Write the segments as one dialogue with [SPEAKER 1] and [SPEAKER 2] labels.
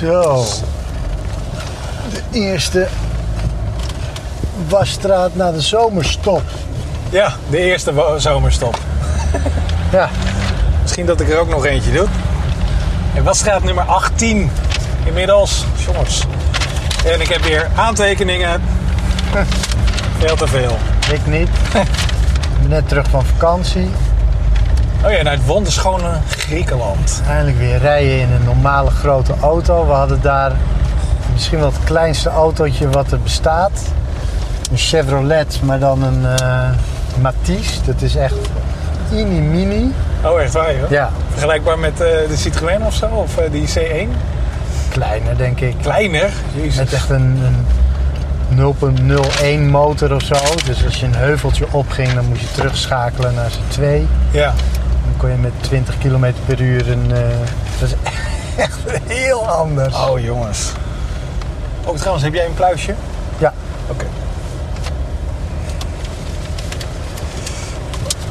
[SPEAKER 1] Zo. De eerste wasstraat na de zomerstop.
[SPEAKER 2] Ja, de eerste wo- zomerstop.
[SPEAKER 1] Ja.
[SPEAKER 2] Misschien dat ik er ook nog eentje doe. En wat staat nummer 18 inmiddels? Jongens. En ik heb weer aantekeningen. Veel te veel.
[SPEAKER 1] Ik niet. Ik ben net terug van vakantie.
[SPEAKER 2] Oh ja, naar het wonderschone Griekenland.
[SPEAKER 1] Eindelijk weer rijden in een normale grote auto. We hadden daar misschien wel het kleinste autootje wat er bestaat. Een Chevrolet, maar dan een eh, Matisse. Dat is echt mini mini.
[SPEAKER 2] Oh, echt waar, joh?
[SPEAKER 1] Ja,
[SPEAKER 2] Vergelijkbaar met eh, de Citroën of zo? Of eh, die C1?
[SPEAKER 1] kleiner denk ik.
[SPEAKER 2] Kleiner? Jezus.
[SPEAKER 1] Met echt een, een 0.01 motor of zo. Dus als je een heuveltje opging, dan moest je terugschakelen naar z'n twee.
[SPEAKER 2] Ja.
[SPEAKER 1] Dan kon je met 20 km per uur een... eh, dat is echt heel anders.
[SPEAKER 2] Oh, jongens. Ook trouwens, heb jij een pluisje?
[SPEAKER 1] Ja,
[SPEAKER 2] Oké.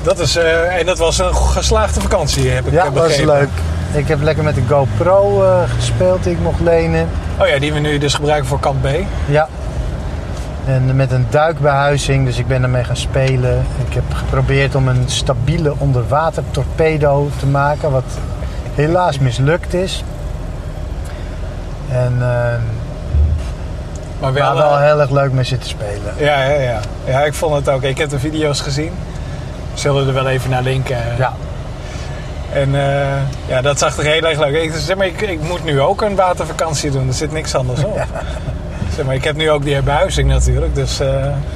[SPEAKER 2] Dat is, eh, en dat was een geslaagde vakantie, heb ik
[SPEAKER 1] ja
[SPEAKER 2] eh,
[SPEAKER 1] was
[SPEAKER 2] begrepen.
[SPEAKER 1] leuk. Ik heb lekker met de GoPro eh, gespeeld die ik mocht lenen.
[SPEAKER 2] Oh ja, die we nu dus gebruiken voor kant B.
[SPEAKER 1] Ja. En met een duikbehuizing, dus ik ben ermee gaan spelen. Ik heb geprobeerd om een stabiele onderwater torpedo te maken, wat helaas mislukt is. En eh
[SPEAKER 2] Maar wel,
[SPEAKER 1] waar wel
[SPEAKER 2] eh,
[SPEAKER 1] heel erg leuk mee zitten spelen.
[SPEAKER 2] ja, ja, ja. ja, ik vond het ook. Ik heb de video's gezien. We Zullen er wel even naar linken.
[SPEAKER 1] Ja,
[SPEAKER 2] En eh, ja, dat zag er heel erg leuk uit. Ik, zeg maar, ik, ik moet nu ook een watervakantie doen. Er zit niks anders op. Zeg maar, ik heb nu ook die herbehuizing natuurlijk. Dus eh,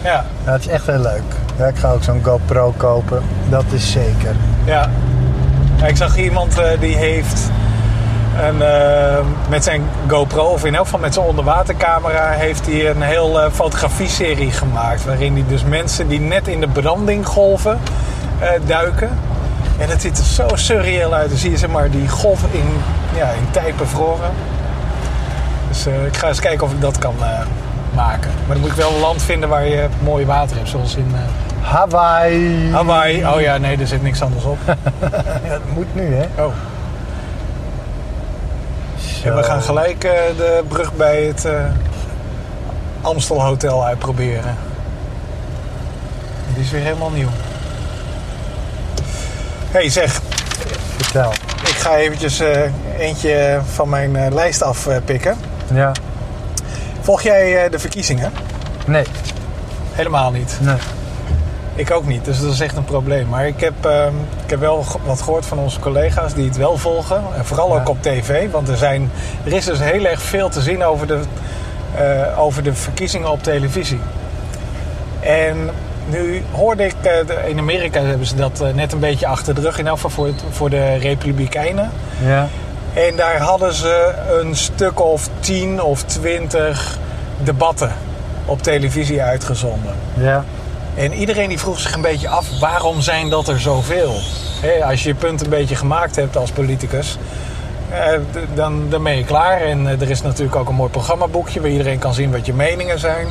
[SPEAKER 2] ja,
[SPEAKER 1] ja, het is echt heel leuk. Ja, ik ga ook zo'n GoPro kopen, dat is zeker.
[SPEAKER 2] Ja. Ja, Ik zag iemand eh, die heeft een, eh, met zijn GoPro, of in elk geval met zijn onderwatercamera, heeft hij een heel eh, fotografie-serie gemaakt. Waarin hij dus mensen die net in de branding golven eh, duiken. En dat ziet er zo surreëel uit. Dan zie je zeg maar die golf in, ja, in tijd bevroren. Dus eh, ik ga eens kijken of ik dat kan eh, maken. Maar dan moet ik wel een land vinden waar je mooi water hebt, zoals in eh,
[SPEAKER 1] Hawaii!
[SPEAKER 2] Hawaii. Oh ja, nee, er zit niks anders op.
[SPEAKER 1] Ja, dat moet nu, hè?
[SPEAKER 2] Oh.
[SPEAKER 1] Zo.
[SPEAKER 2] En we gaan gelijk eh, de brug bij het eh, Amstel Hotel uitproberen. Die is weer helemaal nieuw. Hé hey zeg,
[SPEAKER 1] Vertel.
[SPEAKER 2] ik ga eventjes eh, eentje van mijn eh, lijst afpikken.
[SPEAKER 1] Ja.
[SPEAKER 2] Volg jij eh, de verkiezingen?
[SPEAKER 1] Nee,
[SPEAKER 2] Helemaal niet.
[SPEAKER 1] nee.
[SPEAKER 2] Ik ook niet, dus dat is echt een probleem. Maar ik heb, ehm, ik heb wel ge- wat gehoord van onze collega's die het wel volgen. En vooral
[SPEAKER 1] Ja.
[SPEAKER 2] ook op tv. Want er, zijn, er is dus heel erg veel te zien over de, eh, over de verkiezingen op televisie. En nu hoorde ik, eh, de- in Amerika hebben ze dat eh, net een beetje achter de rug. In elk geval voor, het- voor de Republikeinen.
[SPEAKER 1] Ja.
[SPEAKER 2] En daar hadden ze een stuk of tien of twintig debatten op televisie uitgezonden.
[SPEAKER 1] Ja.
[SPEAKER 2] En iedereen die vroeg zich een beetje af, waarom zijn dat er zoveel? Hè, als je je punt een beetje gemaakt hebt als politicus, eh, d- dan, dan ben je klaar. En eh, er is natuurlijk ook een mooi programmaboekje waar iedereen kan zien wat je meningen zijn.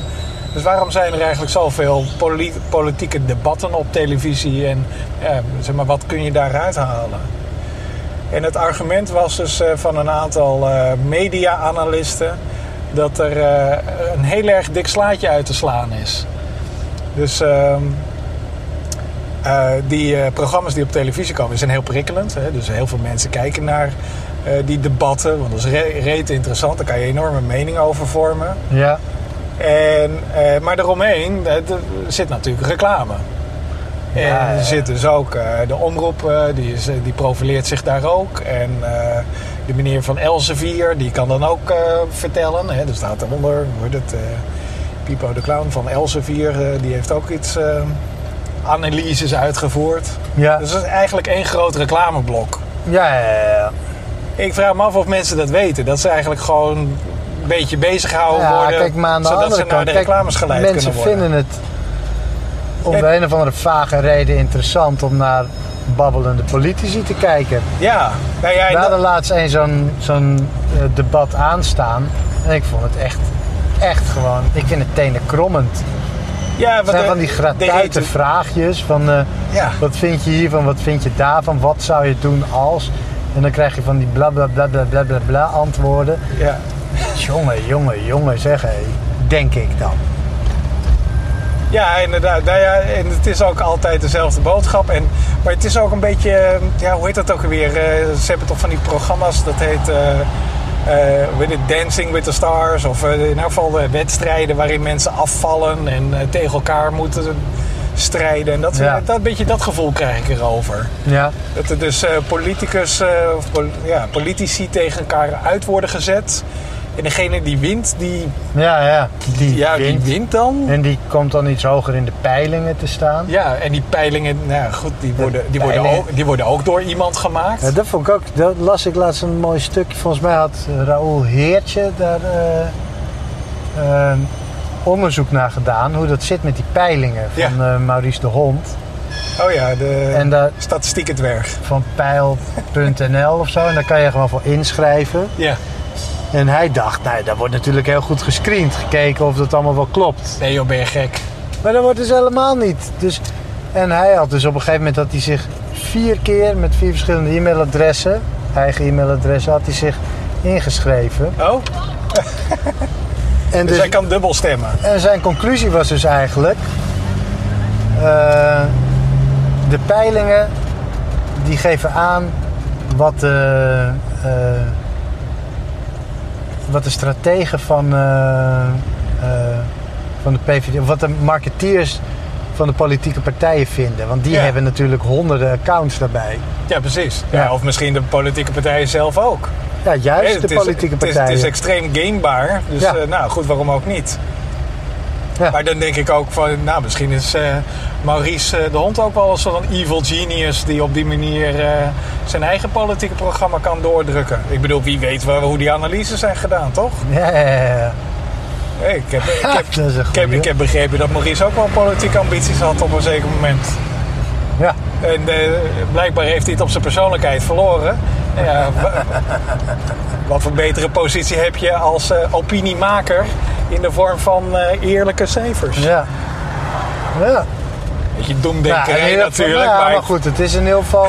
[SPEAKER 2] Dus waarom zijn er eigenlijk zoveel poli- politieke debatten op televisie? En eh, zeg maar, wat kun je daaruit halen? En het argument was dus eh, van een aantal eh, media-analisten... dat er eh, een heel erg dik slaatje uit te slaan is. Dus ehm, eh, die eh, programma's die op televisie komen zijn heel prikkelend. Hè? Dus heel veel mensen kijken naar eh, die debatten. Want dat is re reet interessant. Daar kan je enorme mening over vormen.
[SPEAKER 1] Ja.
[SPEAKER 2] En, eh, maar eromheen eh, er zit natuurlijk reclame. En
[SPEAKER 1] Ja, ja.
[SPEAKER 2] er zit dus ook eh, de omroep, eh, die, is, eh, die profileert zich daar ook. En eh, de meneer van Elsevier, die kan dan ook eh, vertellen. Hè, er staat eronder, hoe heet het, eh, Pipo de Clown van Elsevier, eh, die heeft ook iets eh, analyses uitgevoerd.
[SPEAKER 1] Ja.
[SPEAKER 2] Dus dat is eigenlijk één groot reclameblok.
[SPEAKER 1] Ja, ja, ja, ja.
[SPEAKER 2] Ik vraag me af of mensen dat weten. Dat ze eigenlijk gewoon een beetje bezig gehouden
[SPEAKER 1] Ja,
[SPEAKER 2] worden.
[SPEAKER 1] kijk maar aan de
[SPEAKER 2] zodat
[SPEAKER 1] andere
[SPEAKER 2] ze naar
[SPEAKER 1] kant.
[SPEAKER 2] de
[SPEAKER 1] kijk,
[SPEAKER 2] reclames geleid
[SPEAKER 1] mensen
[SPEAKER 2] kunnen worden.
[SPEAKER 1] vinden het om
[SPEAKER 2] Ja.
[SPEAKER 1] de een of andere vage reden interessant om naar babbelende politici te kijken.
[SPEAKER 2] Ja, nou ja, en
[SPEAKER 1] We
[SPEAKER 2] dat-
[SPEAKER 1] hadden laatst een zo'n zo'n eh, debat aanstaan en ik vond het echt, echt gewoon, ik vind het tenen krommend.
[SPEAKER 2] ja,
[SPEAKER 1] Het
[SPEAKER 2] wat
[SPEAKER 1] zijn
[SPEAKER 2] de-
[SPEAKER 1] van die
[SPEAKER 2] de
[SPEAKER 1] gratuite
[SPEAKER 2] hete-
[SPEAKER 1] vraagjes van eh,
[SPEAKER 2] Ja.
[SPEAKER 1] wat vind je hiervan, wat vind je daarvan, wat zou je doen als... En dan krijg je van die bla bla bla bla bla bla, bla antwoorden.
[SPEAKER 2] Ja.
[SPEAKER 1] Jongen, jongen, jongen, zeg hé. Denk ik dan.
[SPEAKER 2] Ja, inderdaad. Nou ja, en het is ook altijd dezelfde boodschap. En, maar het is ook een beetje, eh, ja, hoe heet dat ook weer? Eh, ze hebben toch van die programma's, dat heet eh, eh, hoe heet het, Dancing with the Stars. Of eh, in elk geval eh, wedstrijden waarin mensen afvallen en eh, tegen elkaar moeten strijden. En dat, eh,
[SPEAKER 1] Ja.
[SPEAKER 2] dat, beetje dat gevoel krijg ik erover.
[SPEAKER 1] Ja.
[SPEAKER 2] Dat er dus eh, politicus, eh, of pol- ja, politici tegen elkaar uit worden gezet. En degene die wint, die,
[SPEAKER 1] Ja, ja. Die
[SPEAKER 2] ja,
[SPEAKER 1] wint.
[SPEAKER 2] die wint dan.
[SPEAKER 1] En die komt dan iets hoger in de peilingen te staan.
[SPEAKER 2] Ja, en die peilingen, nou ja, goed, die worden, die, worden
[SPEAKER 1] peilingen.
[SPEAKER 2] ook, die worden ook door iemand gemaakt.
[SPEAKER 1] Ja, dat vond ik ook. Dat las ik laatst een mooi stuk. Volgens mij had eh, Raoul Heertje daar eh, eh, onderzoek naar gedaan. Hoe dat zit met die peilingen van
[SPEAKER 2] Ja.
[SPEAKER 1] eh, Maurice de Hond.
[SPEAKER 2] Oh ja, de
[SPEAKER 1] En daar
[SPEAKER 2] statistieken dwerg.
[SPEAKER 1] van peil.nl of zo. En daar kan je gewoon voor inschrijven.
[SPEAKER 2] Ja.
[SPEAKER 1] En hij dacht, nou, daar wordt natuurlijk heel goed gescreend. Gekeken of dat allemaal wel klopt.
[SPEAKER 2] Nee joh, ben je gek.
[SPEAKER 1] Maar dat wordt dus helemaal niet. Dus, en hij had dus op een gegeven moment dat hij zich vier keer met vier verschillende e-mailadressen, eigen e-mailadres, had hij zich ingeschreven.
[SPEAKER 2] Oh,
[SPEAKER 1] En,
[SPEAKER 2] dus
[SPEAKER 1] dus,
[SPEAKER 2] hij kan dubbel stemmen.
[SPEAKER 1] en zijn conclusie was dus eigenlijk: eh, de peilingen die geven aan wat de, eh, wat de strategen van, eh, eh, van de PVV, wat de marketeers van de politieke partijen vinden. Want die
[SPEAKER 2] Ja.
[SPEAKER 1] hebben natuurlijk honderden accounts daarbij.
[SPEAKER 2] Ja, precies. Ja.
[SPEAKER 1] Ja.
[SPEAKER 2] of misschien de politieke partijen zelf ook.
[SPEAKER 1] Ja, juist
[SPEAKER 2] Nee,
[SPEAKER 1] de politieke
[SPEAKER 2] het is,
[SPEAKER 1] partijen.
[SPEAKER 2] Het is, extreem gamebaar. Dus
[SPEAKER 1] Ja.
[SPEAKER 2] eh, nou goed, waarom ook niet?
[SPEAKER 1] Ja.
[SPEAKER 2] Maar dan denk ik ook van, nou misschien is eh, Maurice eh, de Hond ook wel een soort van evil genius die op die manier eh, zijn eigen politieke programma kan doordrukken. Ik bedoel, wie weet waar, hoe die analyses zijn gedaan, toch?
[SPEAKER 1] Ja, ja, ja, ja.
[SPEAKER 2] Hey, ik, heb, ik, heb,
[SPEAKER 1] Dat is een
[SPEAKER 2] ik, heb,
[SPEAKER 1] goeie.
[SPEAKER 2] ik heb begrepen dat Maurice ook wel politieke ambities had op een zeker moment.
[SPEAKER 1] Ja.
[SPEAKER 2] En eh, blijkbaar heeft hij het op zijn persoonlijkheid verloren. Nou Ja, wa- wat voor betere positie heb je als eh, opiniemaker in de vorm van eh, eerlijke cijfers?
[SPEAKER 1] Ja. ja.
[SPEAKER 2] Beetje
[SPEAKER 1] Nou, in
[SPEAKER 2] doemdenkerij
[SPEAKER 1] ieder geval-
[SPEAKER 2] natuurlijk,
[SPEAKER 1] nou ja,
[SPEAKER 2] maar,
[SPEAKER 1] maar goed, het is in ieder geval...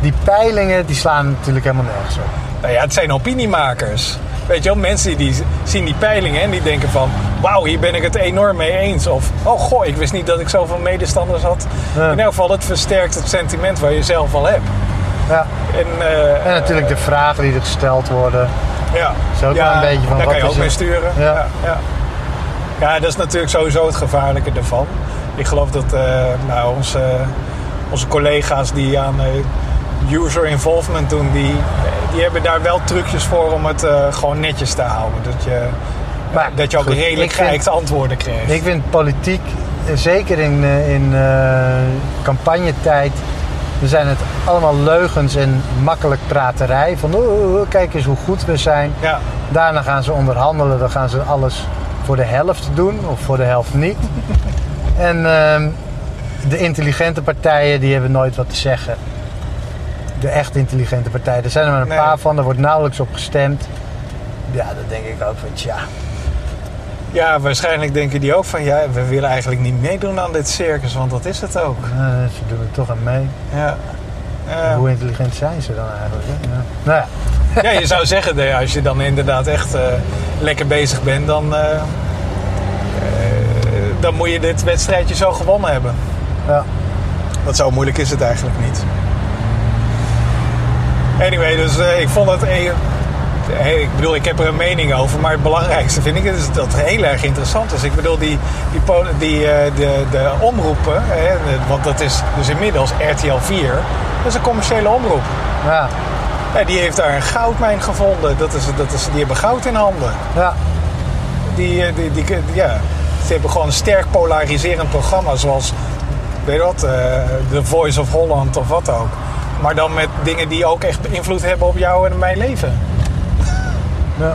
[SPEAKER 1] die peilingen die slaan natuurlijk helemaal nergens op.
[SPEAKER 2] nou ja, het zijn opiniemakers. Weet je wel, mensen die z- zien die peilingen en die denken van... wauw, hier ben ik het enorm mee eens. Of, oh goh, ik wist niet dat ik zoveel medestanders had.
[SPEAKER 1] Ja.
[SPEAKER 2] In elk geval, het versterkt het sentiment waar je zelf al hebt.
[SPEAKER 1] Ja.
[SPEAKER 2] En, eh,
[SPEAKER 1] En natuurlijk de vragen die er gesteld worden.
[SPEAKER 2] Ja.
[SPEAKER 1] Is ook wel een beetje van,
[SPEAKER 2] daar
[SPEAKER 1] wat
[SPEAKER 2] kan je
[SPEAKER 1] is
[SPEAKER 2] ook mee
[SPEAKER 1] het?
[SPEAKER 2] sturen.
[SPEAKER 1] Ja.
[SPEAKER 2] Ja. Ja. Ja, dat is natuurlijk sowieso het gevaarlijke ervan. Ik geloof dat eh, nou, onze, onze collega's die aan eh, user involvement doen, die, die hebben daar wel trucjes voor om het eh, gewoon netjes te houden. Dat je,
[SPEAKER 1] Maar
[SPEAKER 2] dat je ook
[SPEAKER 1] goed,
[SPEAKER 2] redelijk
[SPEAKER 1] ik vind-
[SPEAKER 2] geëikte antwoorden krijgt.
[SPEAKER 1] Ik vind politiek, eh, zeker in, eh, in eh, campagnetijd... Er zijn het allemaal leugens en makkelijk praterij. Van "Oh, oh, oh, kijk eens hoe goed we zijn.
[SPEAKER 2] Ja,
[SPEAKER 1] Daarna gaan ze onderhandelen. Dan gaan ze alles voor de helft doen of voor de helft niet. en ehm, de intelligente partijen die hebben nooit wat te zeggen. De echt intelligente partijen. Er zijn er maar een
[SPEAKER 2] Nee.
[SPEAKER 1] paar van. Er wordt nauwelijks op gestemd. Ja, dat denk ik ook van tja.
[SPEAKER 2] ja, waarschijnlijk denken die ook van ja, we willen eigenlijk niet meedoen aan dit circus, want dat is het ook.
[SPEAKER 1] eh, ze doen er toch aan mee.
[SPEAKER 2] Ja. Ja.
[SPEAKER 1] Hoe intelligent zijn ze dan eigenlijk? Hè? Ja. Nou ja,
[SPEAKER 2] Ja, je zou zeggen, nee, als je dan inderdaad echt eh, lekker bezig bent, dan, eh, eh, dan moet je dit wedstrijdje zo gewonnen hebben.
[SPEAKER 1] ja.
[SPEAKER 2] Want zo moeilijk is het eigenlijk niet. Anyway, dus eh, ik vond het. eh, eh, ik bedoel, ik heb er een mening over, maar het belangrijkste vind ik is dat het heel erg interessant is. Ik bedoel, die, die, po- die eh, de, de omroepen, hè, de- want dat is dus inmiddels RTL 4, dat is een commerciële omroep.
[SPEAKER 1] ja.
[SPEAKER 2] Ja, die heeft daar een goudmijn gevonden. Dat is, dat is, die hebben goud in handen.
[SPEAKER 1] ja.
[SPEAKER 2] Die, eh, die, die, ja, ze hebben gewoon een sterk polariserend programma. Zoals, weet je wat, eh, The Voice of Holland of wat ook. Maar dan met dingen die ook echt invloed hebben op jou en mijn leven.
[SPEAKER 1] ja.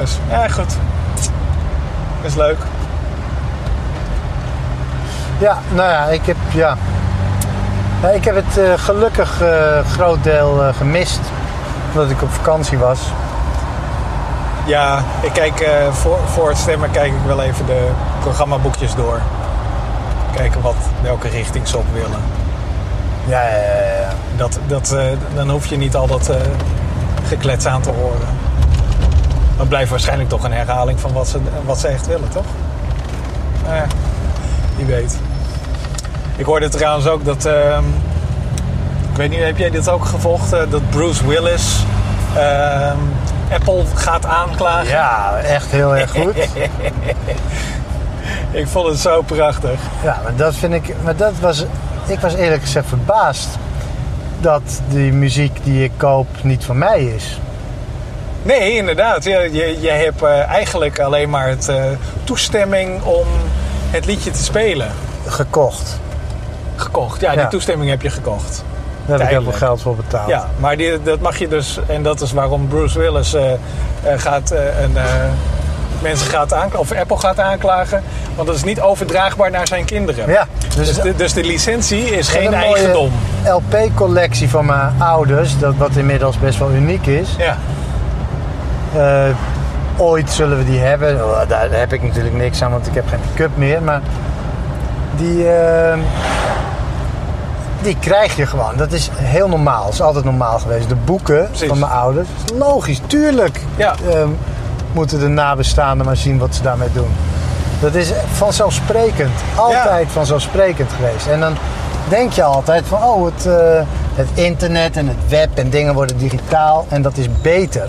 [SPEAKER 2] Dus, ja, goed. Is leuk.
[SPEAKER 1] Ja, nou ja, ik heb, ja. Ja, ik heb het eh, gelukkig eh, groot deel eh, gemist. Omdat ik op vakantie was.
[SPEAKER 2] Ja, ik kijk eh, voor, voor het stemmen kijk ik wel even de programmaboekjes door. Kijken wat, welke richting ze op willen.
[SPEAKER 1] Ja, ja, ja, ja.
[SPEAKER 2] Dat, dat, eh, dan hoef je niet al dat eh, geklets aan te horen. Dat blijft waarschijnlijk toch een herhaling van wat ze, wat ze echt willen, toch? Nou ja, wie weet. Ik hoorde trouwens ook dat... ehm, ik weet niet, heb jij dit ook gevolgd? eh, dat Bruce Willis ehm, Apple gaat aanklagen?
[SPEAKER 1] ja echt heel erg goed.
[SPEAKER 2] Ik vond het zo prachtig.
[SPEAKER 1] Ja, maar dat vind ik. Maar dat was. Ik was eerlijk gezegd verbaasd dat die muziek die ik koop niet van mij is.
[SPEAKER 2] Nee, inderdaad. Ja, je, je hebt eh, eigenlijk alleen maar het, eh, toestemming om het liedje te spelen.
[SPEAKER 1] Gekocht.
[SPEAKER 2] Gekocht. Ja, die
[SPEAKER 1] Ja. Oh.
[SPEAKER 2] toestemming heb je gekocht.
[SPEAKER 1] Daar heb ik heel veel
[SPEAKER 2] Tijdelijk.
[SPEAKER 1] geld voor betaald.
[SPEAKER 2] Ja, maar die, dat mag je dus... En dat is waarom Bruce Willis eh, eh, gaat, eh, een, eh, mensen gaat aanklagen... Of Apple gaat aanklagen. Want dat is niet overdraagbaar naar zijn kinderen.
[SPEAKER 1] Ja, dus-
[SPEAKER 2] Dus, de, dus de licentie
[SPEAKER 1] En
[SPEAKER 2] is geen
[SPEAKER 1] een mooie
[SPEAKER 2] eigendom.
[SPEAKER 1] LP-collectie van mijn ouders, dat wat inmiddels best wel uniek is.
[SPEAKER 2] Ja.
[SPEAKER 1] Eh, ooit zullen we die hebben. Oh, daar heb ik natuurlijk niks aan, want ik heb geen pick-up meer. Maar die, eh, die krijg je gewoon. Dat is heel normaal. Dat is altijd normaal geweest. De boeken
[SPEAKER 2] Precies.
[SPEAKER 1] van mijn ouders. Logisch, tuurlijk.
[SPEAKER 2] Ja.
[SPEAKER 1] eh, moeten de nabestaanden maar zien wat ze daarmee doen. Dat is vanzelfsprekend. Altijd vanzelfsprekend geweest. En dan denk je altijd van, oh, het, eh, het internet en het web en dingen worden digitaal en dat is beter.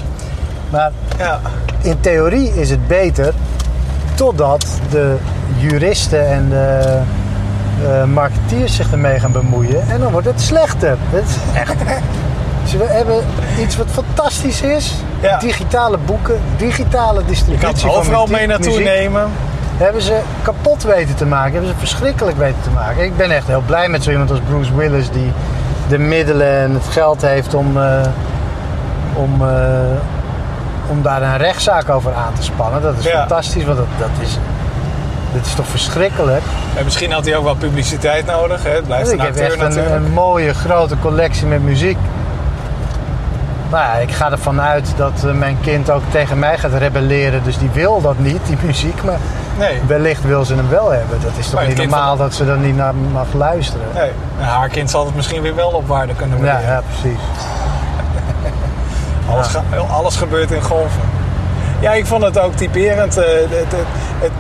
[SPEAKER 1] Maar
[SPEAKER 2] ja.
[SPEAKER 1] in theorie is het beter totdat de juristen en de eh, marketeers zich ermee gaan bemoeien. En dan wordt het slechter. Het is echt. Dus we hebben iets wat fantastisch is.
[SPEAKER 2] Ja.
[SPEAKER 1] Digitale boeken, digitale
[SPEAKER 2] Je
[SPEAKER 1] distributie.
[SPEAKER 2] kan het
[SPEAKER 1] van
[SPEAKER 2] overal
[SPEAKER 1] muzie-
[SPEAKER 2] mee naartoe
[SPEAKER 1] muziek.
[SPEAKER 2] nemen.
[SPEAKER 1] Hebben ze kapot weten te maken. Hebben ze verschrikkelijk weten te maken. Ik ben echt heel blij met zo iemand als Bruce Willis. Die de middelen en het geld heeft om, eh, om, eh, om daar een rechtszaak over aan te spannen. Dat is
[SPEAKER 2] Ja.
[SPEAKER 1] fantastisch. Want dat, dat is... Dit is toch verschrikkelijk?
[SPEAKER 2] En misschien had hij ook wel publiciteit nodig. Hè? Het blijft
[SPEAKER 1] Ik
[SPEAKER 2] een
[SPEAKER 1] heb
[SPEAKER 2] acteur
[SPEAKER 1] echt
[SPEAKER 2] natuurlijk.
[SPEAKER 1] een, een mooie grote collectie met muziek. Nou ja, ik ga ervan uit dat eh, mijn kind ook tegen mij gaat rebelleren. Dus die wil dat niet, die muziek. Maar
[SPEAKER 2] Nee.
[SPEAKER 1] Wellicht wil ze hem wel hebben. Dat is toch
[SPEAKER 2] Maar
[SPEAKER 1] niet
[SPEAKER 2] Oh, het kind
[SPEAKER 1] normaal dat ze er niet naar mag luisteren?
[SPEAKER 2] Nee, en haar kind zal het misschien weer wel op waarde kunnen
[SPEAKER 1] Ja,
[SPEAKER 2] waarderen.
[SPEAKER 1] ja, precies.
[SPEAKER 2] alles, ge- alles gebeurt in golven. Ja, ik vond het ook typerend. eh, het- het- het-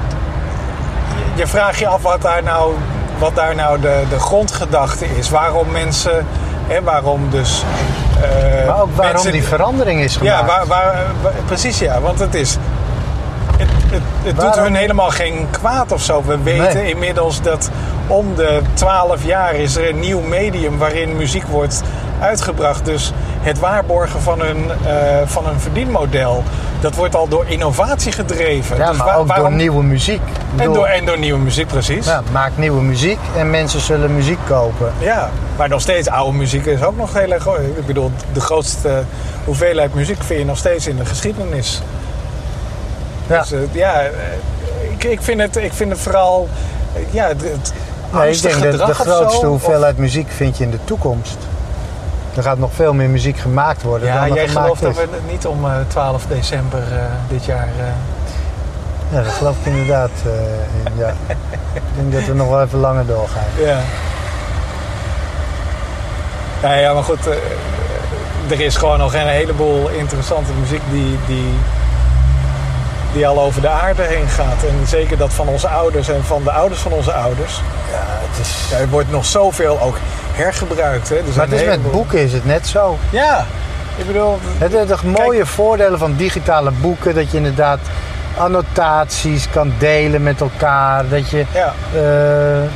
[SPEAKER 2] je vraagt je af wat daar nou, wat daar nou de, de grondgedachte is. Waarom mensen... Hè, waarom dus... eh,
[SPEAKER 1] Maar ook waarom
[SPEAKER 2] mensen-
[SPEAKER 1] die verandering is gemaakt.
[SPEAKER 2] Ja, waar, waar, waar- precies ja, want het is... Het, het, het doet
[SPEAKER 1] Waarom-
[SPEAKER 2] hun helemaal geen kwaad of zo. We weten
[SPEAKER 1] Nee.
[SPEAKER 2] inmiddels dat om de 12 jaar is er een nieuw medium waarin muziek wordt uitgebracht. Dus het waarborgen van hun, eh, van hun verdienmodel, dat wordt al door innovatie gedreven.
[SPEAKER 1] Ja,
[SPEAKER 2] Dus
[SPEAKER 1] maar
[SPEAKER 2] waar-
[SPEAKER 1] ook
[SPEAKER 2] waarom-
[SPEAKER 1] door nieuwe muziek. Ik
[SPEAKER 2] en
[SPEAKER 1] bedoel,
[SPEAKER 2] door, en door nieuwe muziek, precies.
[SPEAKER 1] ja, maak nieuwe muziek en mensen zullen muziek kopen.
[SPEAKER 2] Ja, maar nog steeds oude muziek is ook nog heel erg. Ik bedoel, de grootste hoeveelheid muziek vind je nog steeds in de geschiedenis.
[SPEAKER 1] Ja.
[SPEAKER 2] Dus eh, ja, eh, ik, ik, vind het, ik vind het vooral. eh, Ja, het, het
[SPEAKER 1] Nee, ik
[SPEAKER 2] angstig
[SPEAKER 1] denk dat de
[SPEAKER 2] gedrag of
[SPEAKER 1] grootste
[SPEAKER 2] zo, of-
[SPEAKER 1] hoeveelheid muziek vind je in de toekomst. Er gaat nog veel meer muziek gemaakt worden
[SPEAKER 2] Ja,
[SPEAKER 1] dan er
[SPEAKER 2] jij
[SPEAKER 1] gemaakt
[SPEAKER 2] gelooft dat
[SPEAKER 1] is.
[SPEAKER 2] we het niet om eh, 12 december eh, dit jaar. eh,
[SPEAKER 1] Ja, dat geloof ik inderdaad. eh, in, ja. ik denk dat we nog wel even langer doorgaan.
[SPEAKER 2] ja. ja. Ja, maar goed. eh, er is gewoon nog een heleboel interessante muziek die, die, die al over de aarde heen gaat. En zeker dat van onze ouders en van de ouders van onze ouders.
[SPEAKER 1] Ja, het is...
[SPEAKER 2] Ja, er wordt nog zoveel ook hergebruikt. Hè. Er
[SPEAKER 1] Maar
[SPEAKER 2] zijn
[SPEAKER 1] het is
[SPEAKER 2] een
[SPEAKER 1] met
[SPEAKER 2] heleboel-
[SPEAKER 1] boeken is het net zo.
[SPEAKER 2] Ja, ik bedoel...
[SPEAKER 1] Het zijn toch mooie voordelen van digitale boeken. Dat je inderdaad annotaties kan delen met elkaar. Dat je
[SPEAKER 2] Ja,
[SPEAKER 1] eh,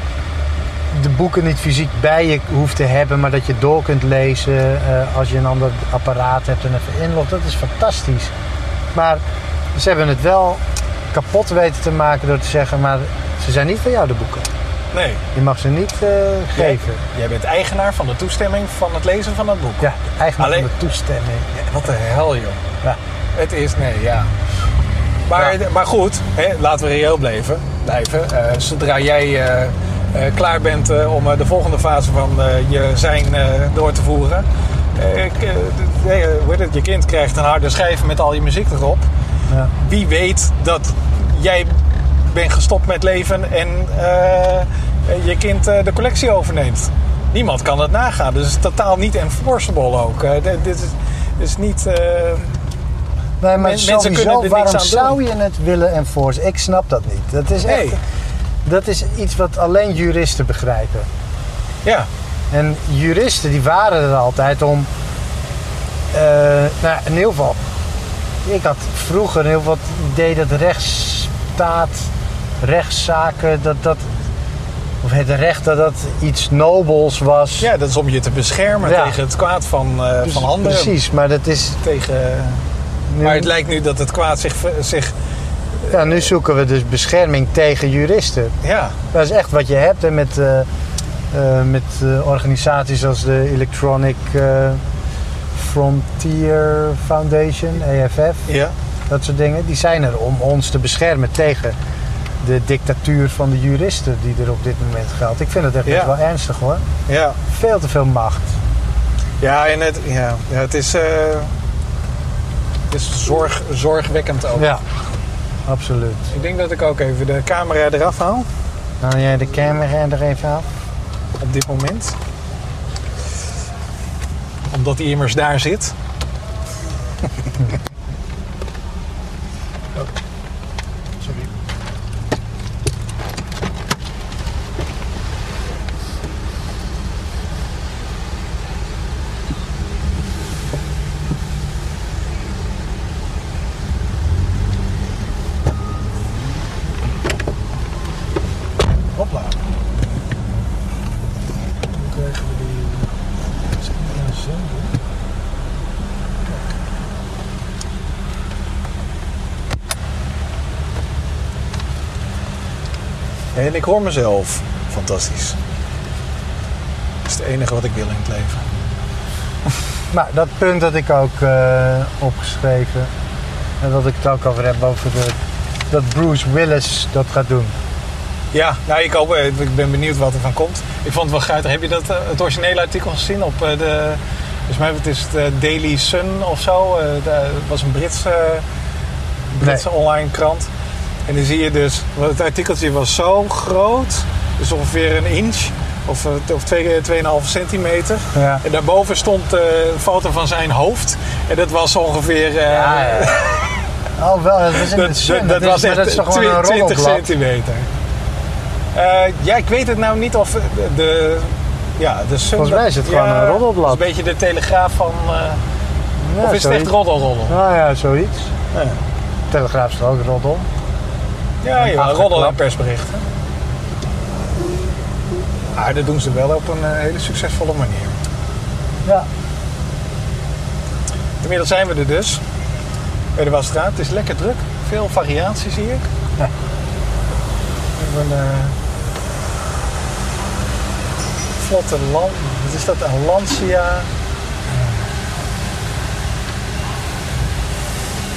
[SPEAKER 1] de boeken niet fysiek bij je hoeft te hebben. Maar dat je door kunt lezen eh, als je een ander apparaat hebt en even inlogt. Dat is fantastisch. Maar ze hebben het wel kapot weten te maken door te zeggen... maar ze zijn niet van jou de boeken.
[SPEAKER 2] nee.
[SPEAKER 1] Je mag ze niet eh, geven.
[SPEAKER 2] Jij, jij bent eigenaar van de toestemming van het lezen van het boek.
[SPEAKER 1] Ja, eigenlijk
[SPEAKER 2] Alleen-
[SPEAKER 1] Alleen... toestemming.
[SPEAKER 2] Wat de hel, joh.
[SPEAKER 1] Ja.
[SPEAKER 2] Het is, nee, ja. Maar, maar goed, hè, laten we reëel blijven. blijven. Eh, zodra jij eh, eh, klaar bent eh, om eh, de volgende fase van eh, je zijn eh, door te voeren. eh, ik, eh, d- eh, hoe heet het, je kind krijgt een harde schijf met al je muziek erop.
[SPEAKER 1] Ja.
[SPEAKER 2] Wie weet dat jij bent gestopt met leven en eh, je kind eh, de collectie overneemt. niemand kan het nagaan. Dus het is totaal niet enforceable ook. Eh, dit, dit is, dit is niet... eh,
[SPEAKER 1] Nee, maar
[SPEAKER 2] Men- mensen kunnen er
[SPEAKER 1] sowieso,
[SPEAKER 2] niks
[SPEAKER 1] waarom
[SPEAKER 2] aan doen.
[SPEAKER 1] zou je het willen enforcen? Ik snap dat niet. Dat is echt...
[SPEAKER 2] Nee.
[SPEAKER 1] Dat is iets wat alleen juristen begrijpen.
[SPEAKER 2] ja,
[SPEAKER 1] En juristen die waren er altijd om... eh, nou, ja, in ieder geval... Ik had vroeger heel wat idee dat rechtsstaat, rechtszaken, dat dat... Of het recht, dat dat iets nobels was.
[SPEAKER 2] ja, dat is om je te beschermen
[SPEAKER 1] Ja.
[SPEAKER 2] tegen het kwaad van, eh,
[SPEAKER 1] Dus-
[SPEAKER 2] van anderen.
[SPEAKER 1] Precies, maar dat is...
[SPEAKER 2] Tegen...
[SPEAKER 1] Nu,
[SPEAKER 2] Maar het lijkt nu dat het kwaad zich... zich
[SPEAKER 1] ja, nu zoeken we dus bescherming tegen juristen.
[SPEAKER 2] ja,
[SPEAKER 1] Dat is echt wat je hebt hè, met, eh, eh, met eh, organisaties als de Electronic eh, Frontier Foundation, EFF,
[SPEAKER 2] ja.
[SPEAKER 1] dat soort dingen. Die zijn er om ons te beschermen tegen de dictatuur van de juristen die er op dit moment geldt. Ik vind het echt
[SPEAKER 2] Ja.
[SPEAKER 1] best wel ernstig hoor.
[SPEAKER 2] Ja,
[SPEAKER 1] Veel te veel macht.
[SPEAKER 2] ja en het, ja, ja, het is, eh, het is zorg, zorgwekkend ook.
[SPEAKER 1] Ja, absoluut.
[SPEAKER 2] Ik denk dat ik ook even de camera eraf haal
[SPEAKER 1] Haal jij de camera er even af?
[SPEAKER 2] op dit moment. Omdat die immers daar zit.
[SPEAKER 1] Sorry.
[SPEAKER 2] Hopla. Dan krijgen we die... Zit er een zender? Kijk. En ik hoor mezelf. Fantastisch. Dat is het enige wat ik wil in het leven.
[SPEAKER 1] Nou, dat punt had ik ook eh, opgeschreven. En dat ik het ook over heb over de, dat Bruce Willis dat gaat doen.
[SPEAKER 2] Ja, nou, ik, hoop, eh, ik ben benieuwd wat er van komt. Ik vond het wel guitig. Heb je dat, eh, het originele artikel gezien op eh, de... Volgens mij het is het eh, Daily Sun of zo. Eh, de- Het was een Britse, Britse online krant. En dan zie je dus... want Het artikeltje was zo groot. Dus ongeveer een inch. Of, eh, of twee- 2,5 centimeter.
[SPEAKER 1] Ja.
[SPEAKER 2] En daarboven stond eh, een foto van zijn hoofd. En dat was ongeveer... eh,
[SPEAKER 1] ja. Oh, wel, dat is in
[SPEAKER 2] dat,
[SPEAKER 1] de zin.
[SPEAKER 2] dat-
[SPEAKER 1] Dat, is,
[SPEAKER 2] dat was
[SPEAKER 1] maar
[SPEAKER 2] echt
[SPEAKER 1] dat is toch gewoon
[SPEAKER 2] twi-
[SPEAKER 1] een
[SPEAKER 2] 20
[SPEAKER 1] roddelblad?
[SPEAKER 2] centimeter. Eh, ja, ik weet het nou niet of de... de ja, de Sun-
[SPEAKER 1] Volgens mij is het gewoon een roddelblad.
[SPEAKER 2] Het is een beetje de telegraaf van... eh,
[SPEAKER 1] Ja,
[SPEAKER 2] of is het echt
[SPEAKER 1] zoiets.
[SPEAKER 2] roddelroddel?
[SPEAKER 1] Nou ja, zoiets.
[SPEAKER 2] Ja,
[SPEAKER 1] Telegraaf is toch ook roddel.
[SPEAKER 2] ja, jawel,
[SPEAKER 1] achterklap.
[SPEAKER 2] roddel en persberichten. Maar dat doen ze wel op een eh, hele succesvolle manier.
[SPEAKER 1] Ja.
[SPEAKER 2] Inmiddels zijn we er dus. Bij de Wasstraat. Het is lekker druk. Veel variatie zie ik.
[SPEAKER 1] Ja.
[SPEAKER 2] We hebben een eh, vlotte land. Wat is dat? Een Lancia.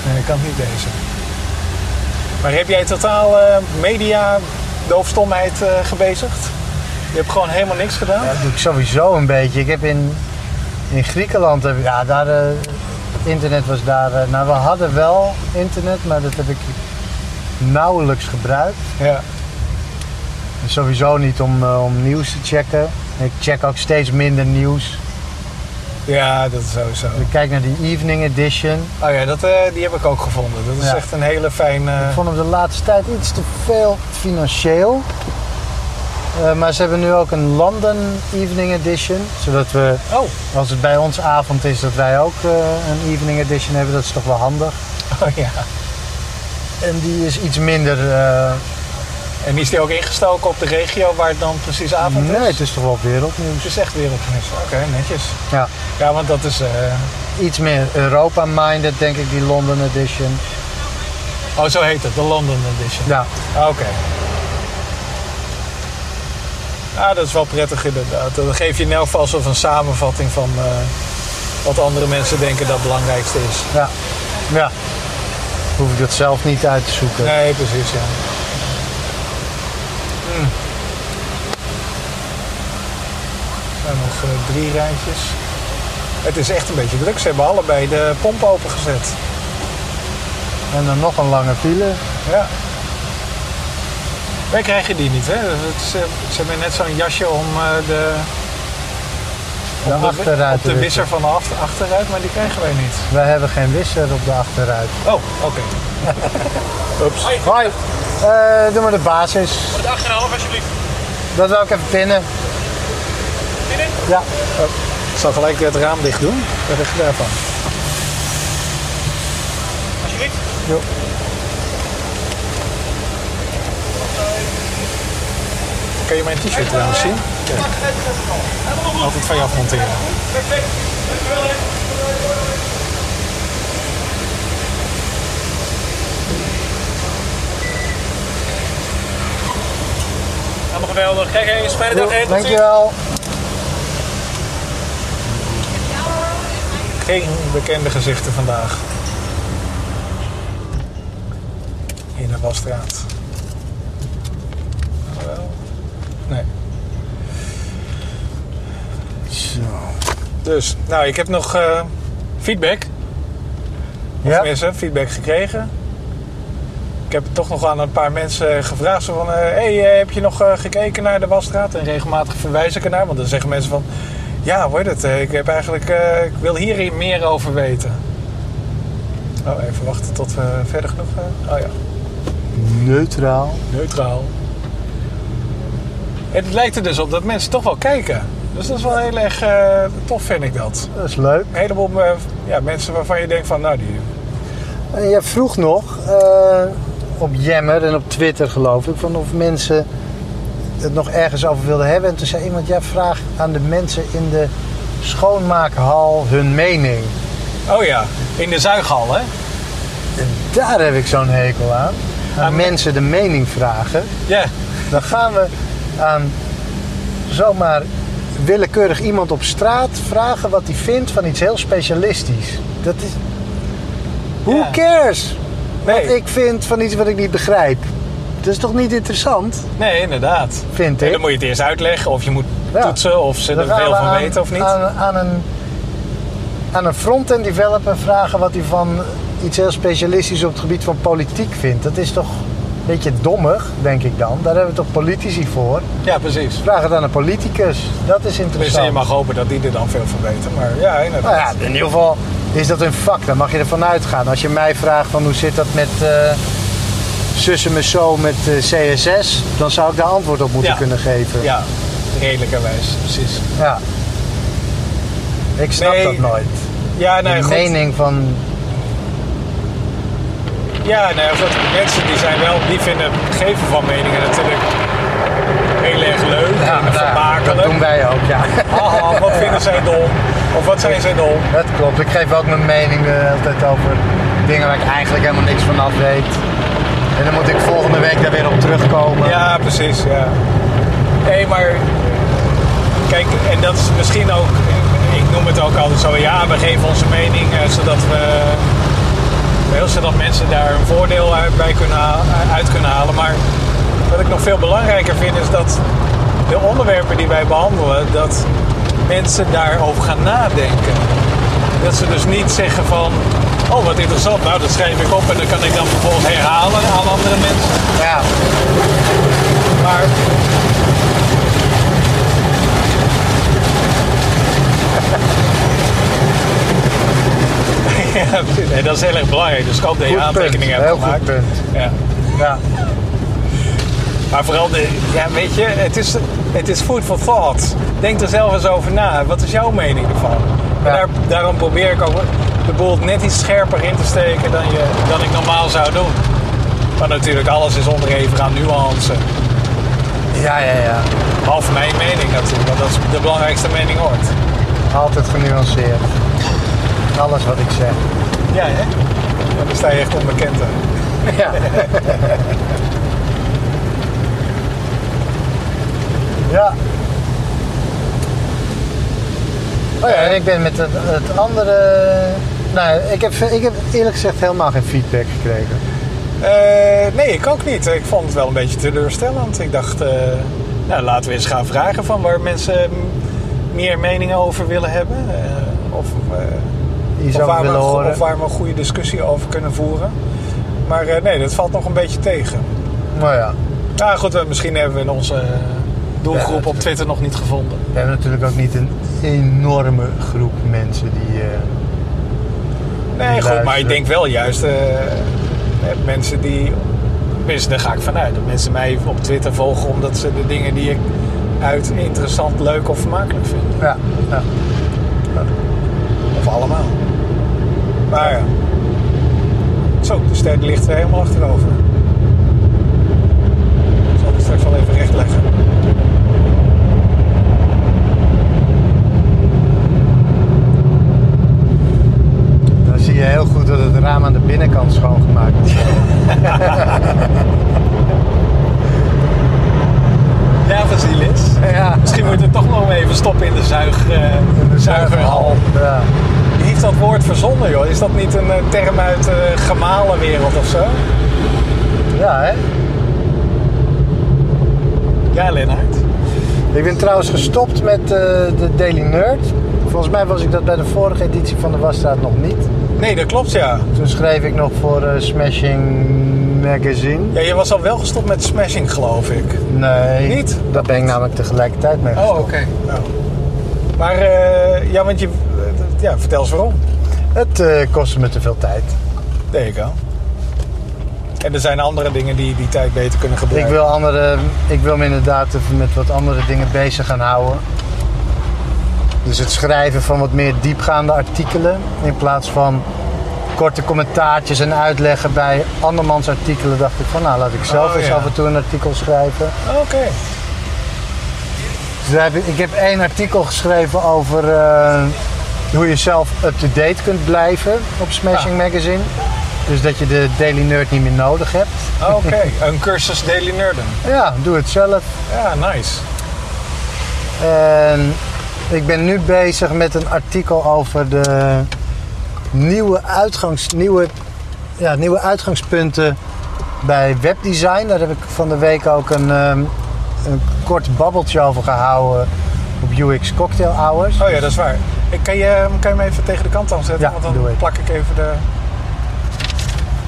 [SPEAKER 2] Nee, ik kan het niet lezen. Maar heb jij totaal eh, media doofstomheid eh, gebezigd? Je hebt gewoon helemaal niks gedaan?
[SPEAKER 1] Dat doe ik sowieso een beetje. Ik heb in, in Griekenland, heb, ik- ja, daar, eh, het internet was daar. eh, nou, we hadden wel internet, maar dat heb ik nauwelijks gebruikt.
[SPEAKER 2] Ja.
[SPEAKER 1] Sowieso niet om, eh, om nieuws te checken. Ik check ook steeds minder nieuws.
[SPEAKER 2] Ja, dat is sowieso.
[SPEAKER 1] Ik kijk naar die Evening Edition.
[SPEAKER 2] Oh ja, dat, eh, die heb ik ook gevonden. Dat is
[SPEAKER 1] Ja.
[SPEAKER 2] echt een hele fijne...
[SPEAKER 1] Ik vond hem de laatste tijd iets te veel financieel. Eh, maar ze hebben nu ook een London Evening Edition. Zodat we,
[SPEAKER 2] Oh,
[SPEAKER 1] als het bij ons avond is, dat wij ook eh, een Evening Edition hebben. Dat is toch wel handig.
[SPEAKER 2] oh ja.
[SPEAKER 1] En die is iets minder... eh,
[SPEAKER 2] En is die ook ingestoken op de regio waar het dan precies avond is?
[SPEAKER 1] nee, het is toch wel wereldnieuws.
[SPEAKER 2] Het is echt wereldnieuws. Oké, netjes.
[SPEAKER 1] Ja,
[SPEAKER 2] Ja, want dat is... eh,
[SPEAKER 1] iets meer Europa-minded, denk ik, die London Edition.
[SPEAKER 2] Oh, zo heet het. De London Edition.
[SPEAKER 1] Ja,
[SPEAKER 2] Ah, Oké. Ah, dat is wel prettig inderdaad. Dan geef je in elk geval zo een samenvatting van eh, wat andere mensen denken dat het belangrijkste is.
[SPEAKER 1] ja, ja. Hoef ik dat zelf niet uit te zoeken.
[SPEAKER 2] Nee, precies, ja. Hmm. Er zijn nog eh, drie rijtjes. Het is echt een beetje druk. Ze hebben allebei de pomp opengezet.
[SPEAKER 1] En dan nog een lange file.
[SPEAKER 2] Ja. Wij krijgen die niet, hè? Het is, eh, ze hebben net zo'n jasje om eh, de
[SPEAKER 1] de achterruit.
[SPEAKER 2] Op de wisser van de achter- achteruit, maar die krijgen wij niet.
[SPEAKER 1] Wij hebben geen wisser op de achterruit.
[SPEAKER 2] Oh, oké. Ups.
[SPEAKER 1] Hoi, Eh, doe maar de basis.
[SPEAKER 3] Voor de achterhalf alsjeblieft.
[SPEAKER 1] Dat wil ik even pinnen.
[SPEAKER 3] Binnen.
[SPEAKER 1] Ja.
[SPEAKER 2] Ik zal gelijk weer het raam dicht doen. Wat heb je daarvan?
[SPEAKER 3] Alsjeblieft.
[SPEAKER 1] Jo.
[SPEAKER 2] Kun je mijn t-shirt trouwens zien? Altijd van je afmonteren.
[SPEAKER 3] Helemaal geweldig. Kijk eh, eens, fijne dag. hè. Tot ziens.
[SPEAKER 1] Dankjewel.
[SPEAKER 2] Geen bekende gezichten vandaag. In de Wasstraat. Wel? Nee.
[SPEAKER 1] Zo.
[SPEAKER 2] Dus, nou, ik heb nog eh, feedback.
[SPEAKER 1] Ja?
[SPEAKER 2] Mensen, feedback gekregen. Ik heb toch nog aan een paar mensen gevraagd. Zo van, eh, hey, eh, heb je nog eh, gekeken naar de Wasstraat? En regelmatig verwijs ik ernaar. Want dan zeggen mensen van... Ja, wordt het. eh, Ik, heb eigenlijk, eh, ik wil hier meer over weten. Oh, even wachten tot we verder genoeg... eh, oh ja,
[SPEAKER 1] Neutraal.
[SPEAKER 2] neutraal. Het lijkt er dus op dat mensen toch wel kijken. Dus dat is wel heel erg eh, tof, vind ik dat.
[SPEAKER 1] Dat is leuk.
[SPEAKER 2] Een heleboel eh, ja, mensen waarvan je denkt van... Nou, die,
[SPEAKER 1] En jij vroeg nog eh, op Jammer en op Twitter geloof ik van of mensen het nog ergens over wilden hebben. En toen zei iemand, ja vraag aan de mensen in de schoonmaakhal hun mening.
[SPEAKER 2] Oh ja, in de zuighal, hè?
[SPEAKER 1] En daar heb ik zo'n hekel aan. Aan
[SPEAKER 2] Aan-
[SPEAKER 1] mensen de mening vragen.
[SPEAKER 2] Ja,
[SPEAKER 1] Dan gaan we aan zomaar willekeurig iemand op straat vragen wat hij vindt van iets heel specialistisch. Dat is... Who
[SPEAKER 2] Ja.
[SPEAKER 1] cares?
[SPEAKER 2] nee,
[SPEAKER 1] Wat ik vind van iets wat ik niet begrijp. Dat is toch niet interessant,
[SPEAKER 2] nee inderdaad.
[SPEAKER 1] vind
[SPEAKER 2] En
[SPEAKER 1] ik?
[SPEAKER 2] dan moet je het eerst uitleggen of je moet
[SPEAKER 1] Ja.
[SPEAKER 2] toetsen of ze
[SPEAKER 1] Dan
[SPEAKER 2] er
[SPEAKER 1] gaan
[SPEAKER 2] veel
[SPEAKER 1] we
[SPEAKER 2] van
[SPEAKER 1] aan-
[SPEAKER 2] weten of niet.
[SPEAKER 1] Aan, aan een, aan een front-end developer vragen wat hij van iets heel specialistisch op het gebied van politiek vindt. Dat is toch een beetje dommig, denk ik dan. Daar hebben we toch politici voor.
[SPEAKER 2] Ja, precies.
[SPEAKER 1] Vraag het aan een politicus. Dat is
[SPEAKER 2] Tenminste, je
[SPEAKER 1] interessant.
[SPEAKER 2] mag hopen dat die er dan veel van weten. Maar ja,
[SPEAKER 1] Nou
[SPEAKER 2] inderdaad.
[SPEAKER 1] ja, in ieder geval is dat een vak. Dan mag je ervan uitgaan. Als je mij vraagt van hoe zit dat met eh zussen me zo met eh, CSS, dan zou ik daar antwoord op moeten
[SPEAKER 2] Ja.
[SPEAKER 1] kunnen geven.
[SPEAKER 2] Ja, redelijkerwijs, precies.
[SPEAKER 1] Ja. Ik snap
[SPEAKER 2] Nee,
[SPEAKER 1] dat nooit.
[SPEAKER 2] Ja, nee,
[SPEAKER 1] de
[SPEAKER 2] goed.
[SPEAKER 1] mening van...
[SPEAKER 2] Ja, nou ja, goed. Mensen die zijn wel, die vinden het geven van meningen natuurlijk heel erg leuk en
[SPEAKER 1] daar, nou dat
[SPEAKER 2] vermakelijk.
[SPEAKER 1] doen wij ook, ja.
[SPEAKER 2] Haha, wat vinden zij dom? Of wat zijn zij dom?
[SPEAKER 1] Dat klopt. Ik geef ook mijn mening eh, altijd over dingen waar ik eigenlijk helemaal niks van af weet. En dan moet ik volgende week daar weer op terugkomen.
[SPEAKER 2] Ja, precies, ja. Nee, maar... Kijk, en dat is misschien ook... Ik noem het ook altijd zo. Ja, we geven onze mening, eh, zodat we... wel, Zodat mensen daar een voordeel uit, bij kunnen, ha- uit kunnen halen. Maar wat ik nog veel belangrijker vind, is dat de onderwerpen die wij behandelen... dat mensen daarover gaan nadenken. Dat ze dus niet zeggen van... Oh, wat interessant. Nou, dat schrijf ik op en dat kan ik dan vervolgens herhalen aan andere mensen.
[SPEAKER 1] Ja.
[SPEAKER 2] Maar. ja, precies. Nee, dat is heel erg belangrijk. Dus ik hoop dat je
[SPEAKER 1] Goed
[SPEAKER 2] aantekeningen
[SPEAKER 1] punt.
[SPEAKER 2] hebt
[SPEAKER 1] Heel goed
[SPEAKER 2] gemaakt.
[SPEAKER 1] punt.
[SPEAKER 2] Ja.
[SPEAKER 1] ja.
[SPEAKER 2] Maar vooral, de, ja, weet je, het is, het is food for thought. Denk er zelf eens over na. Wat is jouw mening ervan? En
[SPEAKER 1] Ja.
[SPEAKER 2] daar, daarom probeer ik ook de boel net iets scherper in te steken dan, je, dan ik normaal zou doen. Maar natuurlijk, alles is onderhevig aan nuance.
[SPEAKER 1] Ja, ja, ja.
[SPEAKER 2] Behalve mijn mening natuurlijk, want dat is de belangrijkste mening ooit.
[SPEAKER 1] Altijd genuanceerd. Alles wat ik zeg.
[SPEAKER 2] Ja, hè? Ja, dan sta je echt onbekend. aan.
[SPEAKER 1] Ja. ja. Oh ja, en ik ben met het, het andere... Nou, ik heb, ik heb eerlijk gezegd helemaal geen feedback gekregen.
[SPEAKER 2] Eh, nee, ik ook niet. Ik vond het wel een beetje teleurstellend. Ik dacht, eh, nou, laten we eens gaan vragen van waar mensen m- meer meningen over willen hebben. Eh, of, eh,
[SPEAKER 1] Die
[SPEAKER 2] of,
[SPEAKER 1] zou ik
[SPEAKER 2] waar we,
[SPEAKER 1] willen
[SPEAKER 2] een go-
[SPEAKER 1] horen.
[SPEAKER 2] of waar we een goede discussie over kunnen voeren. Maar eh, nee, dat valt nog een beetje tegen.
[SPEAKER 1] Nou ja.
[SPEAKER 2] Nou goed, eh, misschien hebben we in onze eh, doelgroep
[SPEAKER 1] Ja,
[SPEAKER 2] op Twitter nog niet gevonden.
[SPEAKER 1] We hebben natuurlijk ook niet een enorme groep mensen die. eh,
[SPEAKER 2] Nee, goed, maar ik
[SPEAKER 1] luisteren.
[SPEAKER 2] denk wel juist eh, met mensen die. Tenminste, daar ga ik vanuit. Dat mensen mij op Twitter volgen omdat ze de dingen die ik uit interessant, leuk of vermakelijk vind.
[SPEAKER 1] ja, ja.
[SPEAKER 2] Of allemaal. Maar ja. Zo, de ster ligt er helemaal achterover. Ik zal het straks wel even recht leggen.
[SPEAKER 1] Dan zie je heel goed dat het raam aan de binnenkant schoongemaakt is.
[SPEAKER 2] Ja, precies. Liz.
[SPEAKER 1] Ja.
[SPEAKER 2] Misschien moeten we toch nog even stoppen in de, zuig, eh, zuigerhal.
[SPEAKER 1] Ja.
[SPEAKER 2] Wie heeft dat woord verzonnen, joh? Is dat niet een eh, term uit de gemalenwereld of zo?
[SPEAKER 1] ja, hè?
[SPEAKER 2] Ja, Lennart.
[SPEAKER 1] Ik ben trouwens gestopt met eh, de Daily Nerd. Volgens mij was ik dat bij de vorige editie van de Wasstraat nog niet.
[SPEAKER 2] Nee, dat klopt, ja.
[SPEAKER 1] Toen schreef ik nog voor eh, Smashing Magazine.
[SPEAKER 2] Ja, je was al wel gestopt met smashing, geloof ik.
[SPEAKER 1] Nee,
[SPEAKER 2] Niet?
[SPEAKER 1] daar ben ik namelijk tegelijkertijd mee
[SPEAKER 2] Oh, oké.
[SPEAKER 1] gestopt.
[SPEAKER 2] Nou. Maar, eh, ja, want je... eh, ja, vertel eens waarom.
[SPEAKER 1] Het eh, kostte me te veel tijd.
[SPEAKER 2] There you go. En er zijn andere dingen die die tijd beter kunnen
[SPEAKER 1] Ik,
[SPEAKER 2] gebruiken.
[SPEAKER 1] wil andere, ik wil me inderdaad even met wat andere dingen bezig gaan houden. Dus het schrijven van wat meer diepgaande artikelen. In plaats van korte commentaartjes en uitleggen bij andermans artikelen. Dacht ik van nou laat ik zelf
[SPEAKER 2] Oh,
[SPEAKER 1] eens
[SPEAKER 2] ja.
[SPEAKER 1] af en toe een artikel schrijven.
[SPEAKER 2] Oh, Oké.
[SPEAKER 1] Dus daar heb ik, ik heb één artikel geschreven over eh, hoe je zelf up-to-date kunt blijven op
[SPEAKER 2] Ah.
[SPEAKER 1] Smashing Magazine. Dus dat je de Daily Nerd niet meer nodig hebt.
[SPEAKER 2] Oh, Oké. Een cursus Daily Nerden.
[SPEAKER 1] Ja, doe het zelf.
[SPEAKER 2] Ja, nice.
[SPEAKER 1] En Ehm, ik ben nu bezig met een artikel over de nieuwe, uitgangs, nieuwe, ja, nieuwe uitgangspunten bij webdesign. Daar heb ik van de week ook een, ehm, een kort babbeltje over gehouden op UX Cocktail Hours.
[SPEAKER 2] Oh ja, dat is waar. Ik, kan, je, ehm, kan je hem even tegen de kant aan zetten?
[SPEAKER 1] Ja,
[SPEAKER 2] want dan
[SPEAKER 1] doe ik.
[SPEAKER 2] plak ik even de,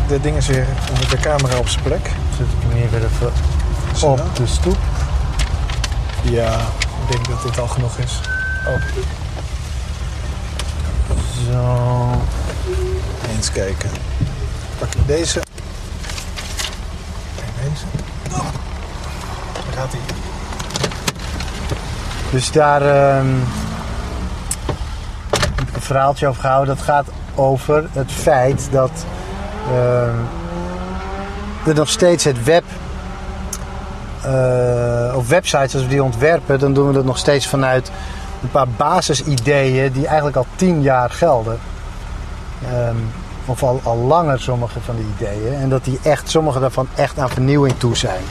[SPEAKER 2] de dingen weer, de camera op zijn plek.
[SPEAKER 1] Zet ik hem hier weer even
[SPEAKER 2] Zo.
[SPEAKER 1] op de stoep.
[SPEAKER 2] Ja, ik denk dat dit al genoeg is.
[SPEAKER 1] Zo.
[SPEAKER 2] Eens kijken. Pak ik deze. En deze. Daar gaat hij.
[SPEAKER 1] Dus daar ehm, heb ik een verhaaltje over gehouden. Dat gaat over het feit dat ehm, er nog steeds het web. eh, of websites, als we die ontwerpen, dan doen we dat nog steeds vanuit een paar basisideeën die eigenlijk al tien jaar gelden. Ehm, of al, al langer sommige van die ideeën. En dat die echt, sommige daarvan echt aan vernieuwing toe zijn.